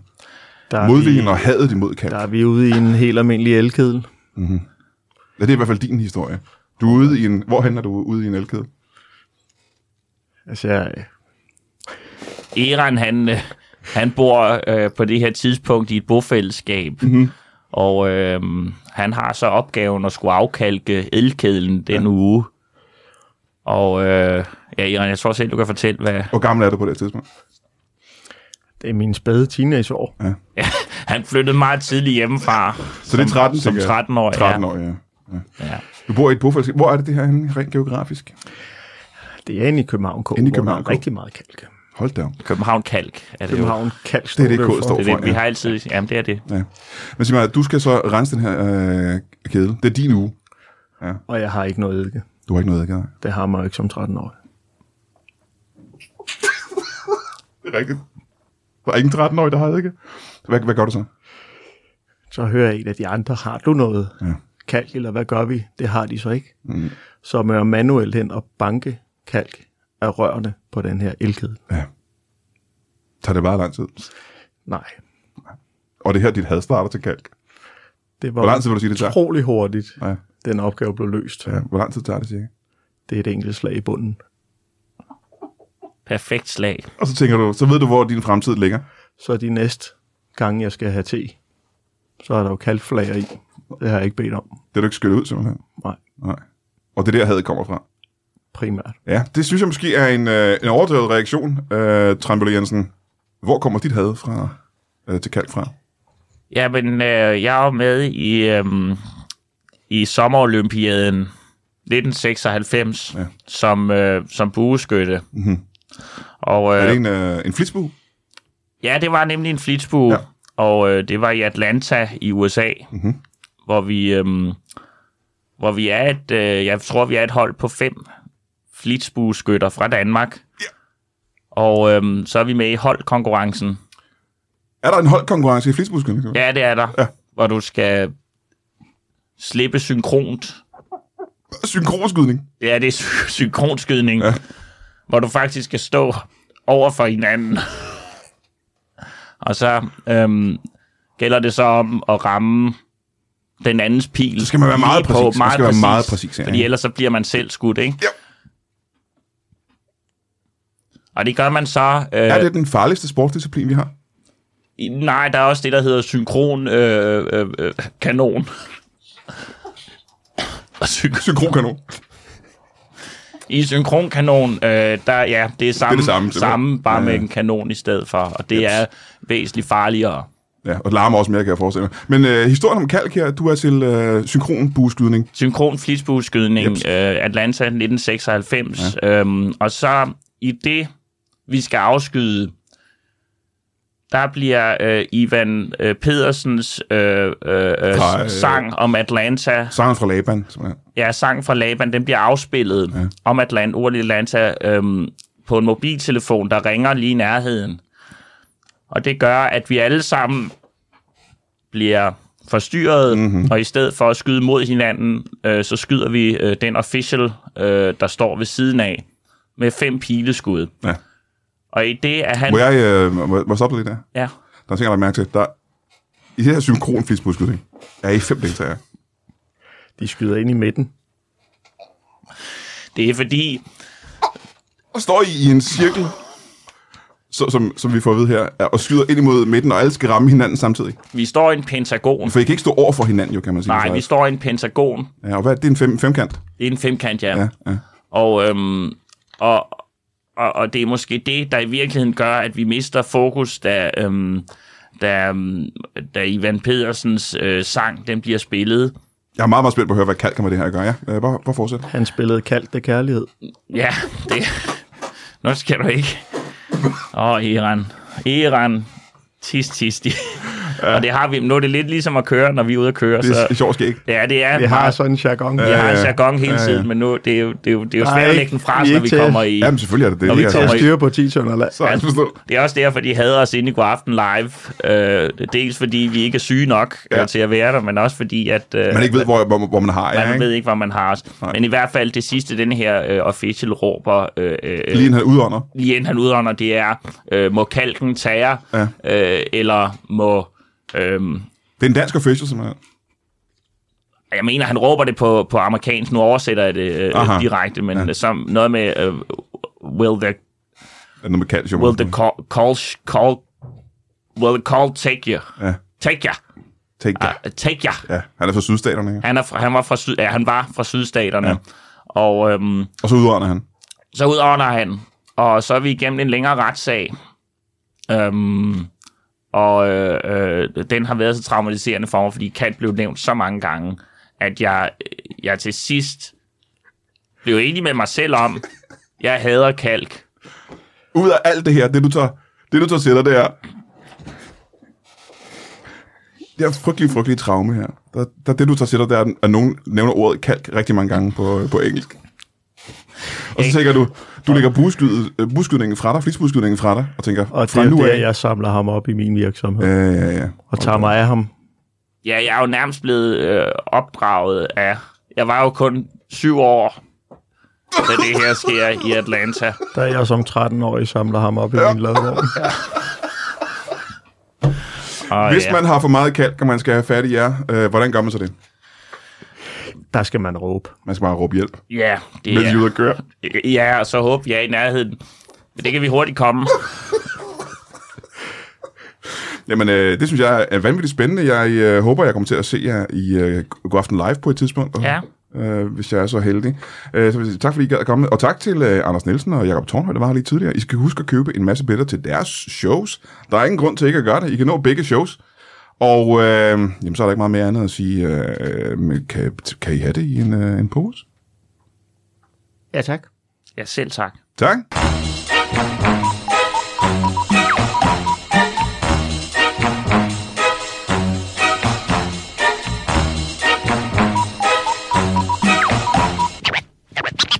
Speaker 3: Der er, vi,
Speaker 1: modviljen og hadet imod kalk?
Speaker 3: der er vi ude i en helt almindelig elkedel.
Speaker 1: Ja, det er i hvert fald din historie. Du er ude i en... Hvor handler du ude i en elkæde?
Speaker 3: Altså, jeg,
Speaker 2: Eran, han, øh, han bor øh, på det her tidspunkt i et bofællesskab,
Speaker 1: Mhm.
Speaker 2: mm-hmm. og øh, han har så opgaven at skulle afkalke elkedlen den ja. uge. Og øh, ja, Eran, jeg tror selv, du kan fortælle, hvad...
Speaker 1: Hvor gammel er du på det tidspunkt?
Speaker 3: det er min spæde teenageår.
Speaker 2: Ja, han flyttede meget tidligt hjemmefra.
Speaker 1: Så det er 13,
Speaker 2: Som
Speaker 1: tænker jeg.
Speaker 2: 13 år,
Speaker 1: 13 år, ja.
Speaker 2: Ja.
Speaker 1: Du bor i et bofællesskab. Hvor er det det her henne, rent geografisk?
Speaker 3: Det er inde i København K,
Speaker 1: Inde i
Speaker 3: hvor man har
Speaker 1: København K.
Speaker 3: rigtig meget kalk.
Speaker 1: Hold da op.
Speaker 2: København Kalk er det jo.
Speaker 3: København kalk
Speaker 1: Det er det, K står
Speaker 3: for.
Speaker 1: for.
Speaker 2: Det er det, vi
Speaker 1: ja.
Speaker 2: har altid... Jamen, det er det.
Speaker 1: Ja. Men sig mig, du skal så rense den her øh, kæde. Det er din uge.
Speaker 3: Og jeg har ikke noget eddike.
Speaker 1: Du har ikke noget adgang.
Speaker 3: Det har man jo ikke som 13 år.
Speaker 1: Det er rigtigt. Der er ingen 13-årig, der har adgang. Hvad, hvad gør du så?
Speaker 3: Så hører jeg en af de andre, har du noget
Speaker 1: Ja.
Speaker 3: kalk, eller hvad gør vi? Det har de så ikke. Mm. Så må jeg manuelt hen og banke kalk af rørene på den her elkæde.
Speaker 1: Ja. Tager det bare lang tid.
Speaker 3: Nej,
Speaker 1: Og det er her, dit had starter til kalk.
Speaker 3: det
Speaker 1: Hvor lang
Speaker 3: var
Speaker 1: tid vil du sige, det tager?
Speaker 3: utrolig hurtigt,
Speaker 1: Ja.
Speaker 3: den opgave blev løst.
Speaker 1: ja. Hvor lang tid tager det cirka?
Speaker 3: Det er et enkelt slag i bunden.
Speaker 2: Perfekt slag.
Speaker 1: Og så tænker du, så ved du, hvor din fremtid ligger.
Speaker 3: Så de næste gange, jeg skal have te, så er der jo kalkflager i. Det har jeg ikke bedt om.
Speaker 1: Det er du ikke skyllet ud, simpelthen.
Speaker 3: Nej,
Speaker 1: Nej. Og det er der, hadet kommer fra.
Speaker 3: primært.
Speaker 1: Ja, det synes jeg måske er en, øh, en overdrevet reaktion, øh, Trambølle Jensen. Hvor kommer dit had fra, øh, til kalk fra?
Speaker 2: Jamen, øh, jeg var med i, øh, i sommerolympiaden 1996
Speaker 1: Ja. Mhm.
Speaker 2: ja. som, øh, som bueskytte. Mm-hmm. Og, øh,
Speaker 1: Er det en, øh, en flitsbue?
Speaker 2: Ja, det var nemlig en flitsbue,
Speaker 1: Ja. Mhm.
Speaker 2: ja. og øh, det var i Atlanta i USA, mm-hmm. hvor vi øhm, hvor vi er et, øh, jeg tror vi er et hold på fem flitsbueskytter fra Danmark. Ja. Og øhm, så er vi med i holdkonkurrencen.
Speaker 1: Er der en holdkonkurrence i flitsbuskydning? Ja.
Speaker 2: Ja, det er der.
Speaker 1: Ja.
Speaker 2: Hvor du skal slippe synkront.
Speaker 1: Synkronskydning.
Speaker 2: Ja, det er sy- synkronskydning. Ja. Hvor du faktisk skal stå over for hinanden. Og så øhm, gælder det så om at ramme den andens pil. Så
Speaker 1: skal man være meget præcis. Man
Speaker 2: Meget
Speaker 1: skal være
Speaker 2: præcis,
Speaker 1: meget præcis, ja,
Speaker 2: ja, fordi
Speaker 1: ja.
Speaker 2: ellers så bliver man selv skudt, ikke?
Speaker 1: Ja.
Speaker 2: Og det gør man så... Øh,
Speaker 1: Er det den farligste sportsdisciplin, vi har?
Speaker 2: i- Nej, der er også det, der hedder synkron øh, øh, øh, kanon. Og synkron
Speaker 1: Synkronkanon.
Speaker 2: I synkronkanon, øh, der, ja, det er samme,
Speaker 1: det samme,
Speaker 2: det samme,
Speaker 1: simpelthen.
Speaker 2: samme bare
Speaker 1: Ja,
Speaker 2: ja,
Speaker 1: ja.
Speaker 2: med en kanon i stedet for, og det er væsentligt farligere.
Speaker 1: Ja, og det larmer også mere, kan jeg forestille mig. Men øh, historien om kalk her, du er til øh, synkron bueskydning.
Speaker 2: Synkron flitsbueskydning,
Speaker 1: Jeps.
Speaker 2: yep. øh, Atlanta 1996, ja. øhm, og så i det, vi skal afskyde, der bliver øh, Ivan øh, Pedersens øh, øh,
Speaker 1: Fra, øh,
Speaker 2: øh, sang om Atlanta
Speaker 1: Sangen fra Laban, simpelthen.
Speaker 2: ja, sang fra Laban, den bliver afspillet ja. om Atlant, ordet Atlanta, øhm, på en mobiltelefon, der ringer lige i nærheden. Og det gør, at vi alle sammen bliver forstyrret, mm-hmm. og i stedet for at skyde mod hinanden, øh, så skyder vi øh, den official, øh, der står ved siden af, med fem pileskud.
Speaker 1: Ja.
Speaker 2: Og i det er han...
Speaker 1: Må jeg øh, må, må jeg stoppe lidt der?
Speaker 2: Ja,
Speaker 1: Der er ting, jeg har lagt mærke til. Der, I det her synkron flitsbuskydning er I fem deltagere.
Speaker 3: De skyder ind i midten.
Speaker 2: det er fordi,
Speaker 1: Og står I i en cirkel, så, som, som vi får at vide her, er- og skyder ind imod midten, og alle skal ramme hinanden samtidig.
Speaker 2: vi står i en pentagon.
Speaker 1: For I kan ikke stå over for hinanden, jo, kan man sige.
Speaker 2: Nej,
Speaker 1: Så-
Speaker 2: vi står i en pentagon.
Speaker 1: ja, og hvad er det? Det er en fem, femkant?
Speaker 2: Det er en femkant, ja.
Speaker 1: Ja, ja.
Speaker 2: Og, øhm, og, og, og det er måske det, der i virkeligheden gør, at vi mister fokus, da, øhm, da, øhm, da Ivan Pedersens øh, sang den bliver spillet.
Speaker 1: Jeg er meget, meget spændt på at høre, hvad kalk kommer det her at gøre. Ja, øh, bare, bare fortsæt.
Speaker 3: Han spillede kaldt af kærlighed.
Speaker 2: Ja, det... Nu skal du ikke. Åh, oh, Iran. Iran. Tis, tis, tis. Ja. Og det har vi. Nu er det lidt ligesom at køre, når vi er ude at køre.
Speaker 1: Det er
Speaker 2: Så,
Speaker 1: sjovt skæg.
Speaker 2: ja, det er...
Speaker 3: Det har
Speaker 2: meget-
Speaker 3: sådan en jargon.
Speaker 2: jeg
Speaker 3: Ja.
Speaker 2: har en
Speaker 1: ja.
Speaker 2: jargon hele
Speaker 1: Ja, ja.
Speaker 2: tiden, men nu det er jo, det er jo, det er jo
Speaker 3: Der er
Speaker 2: svært at
Speaker 3: ikke-
Speaker 2: lægge den
Speaker 3: vi
Speaker 2: fra,
Speaker 3: er
Speaker 2: os, når
Speaker 3: ikke
Speaker 2: vi
Speaker 3: til-
Speaker 2: kommer i...
Speaker 1: Jamen, selvfølgelig er det det.
Speaker 2: Når
Speaker 1: det
Speaker 2: vi
Speaker 1: er,
Speaker 3: Til
Speaker 2: kommer
Speaker 1: altså,
Speaker 3: at styre på 10 tønder land.
Speaker 1: så er det forstået.
Speaker 2: Det er også derfor, de hader os inde i god aften live. Øh, dels fordi vi ikke er syge nok
Speaker 1: Ja.
Speaker 2: ja. øh, til at være der, men også fordi, at øh,
Speaker 1: Man ikke ved, hvor, hvor, hvor man har jer,
Speaker 2: man
Speaker 1: ikke?
Speaker 2: ved ikke, hvor man har os. Men i hvert fald det sidste, den her øh, official råber, øh, øh,
Speaker 1: Lige en her udånder.
Speaker 2: lige inden han udånder, det er, øh, må kalken tage jer,
Speaker 1: Ja.
Speaker 2: øh, eller må... Øh,
Speaker 1: Det er en dansk official, simpelthen.
Speaker 2: jeg mener, han råber det på, på amerikansk, nu oversætter jeg det øh,
Speaker 1: Aha.
Speaker 2: direkte, men ja. som noget med, øh, will the
Speaker 1: Noget med calcium.
Speaker 2: will the call call sh- call will the call take you?
Speaker 1: Ja.
Speaker 2: Take you.
Speaker 1: Take that.
Speaker 2: Uh, take you.
Speaker 1: Ja, han er fra sydstaterne. Ikke?
Speaker 2: Han er fra, han var fra syd, ja, han var fra sydstaterne. Ja. Og øhm,
Speaker 1: Og så udånder han.
Speaker 2: så udånder han, og så er vi igennem en længere retssag. Øhm, og øh, øh, den har været så traumatiserende for mig, fordi Kat blev nævnt så mange gange, at jeg, øh, jeg til sidst blev enig med mig selv om, jeg hader kalk.
Speaker 1: Ud af alt det her, det du tager, det du tager sætter, det er... Det er frygtelig, frygtelig traume her. Der, der, det, du tager sætter, der er, at nogen nævner ordet kalk rigtig mange gange på, på engelsk. Og så tænker du, du lægger buskyde, øh, buskydningen fra dig, flisbuskydningen fra dig, og tænker,
Speaker 3: Og det
Speaker 1: fra
Speaker 3: er
Speaker 1: nu
Speaker 3: der,
Speaker 1: af...
Speaker 3: jeg samler ham op i min virksomhed.
Speaker 1: Ja, ja, ja.
Speaker 3: Og tager mig af ham.
Speaker 2: Ja, jeg er jo nærmest blevet øh, opdraget af... Jeg var jo kun syv år, da det her sker i Atlanta.
Speaker 3: Der er jeg som 13-årig samler ham op i min ladvogn.
Speaker 2: Og,
Speaker 1: Hvis
Speaker 2: ja.
Speaker 1: man har for meget kalk, og man skal have fat i jer, øh, hvordan gør man så det?
Speaker 3: Der skal man råbe.
Speaker 1: Man skal bare råbe hjælp,
Speaker 2: Ja, det
Speaker 1: mens
Speaker 2: er...
Speaker 1: I er ude at køre.
Speaker 2: Ja, og så håber jeg er i nærheden. Men det kan vi hurtigt komme.
Speaker 1: Jamen, øh, det synes jeg er vanvittigt spændende. Jeg øh, håber, jeg kommer til at se jer i øh, God Aften Live på et tidspunkt, og,
Speaker 2: Ja.
Speaker 1: øh, hvis jeg er så heldig. Øh, så vil jeg sige tak, fordi I gad at komme. Og tak til øh, Anders Nielsen og Jakob Tornhøj, der var her lige tidligere. I skal huske at købe en masse billetter til deres shows. Der er ingen grund til ikke at gøre det. I kan nå begge shows. Og øh, jamen, så er der ikke meget mere andet at sige. Øh, men kan, kan I have det i en, øh, en pose?
Speaker 3: Ja, tak.
Speaker 2: Ja, selv tak.
Speaker 1: Tak.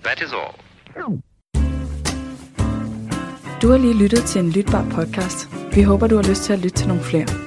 Speaker 4: That is all.
Speaker 5: Du har lige lyttet til en lytbar podcast. Vi håber, du har lyst til at lytte til nogle flere.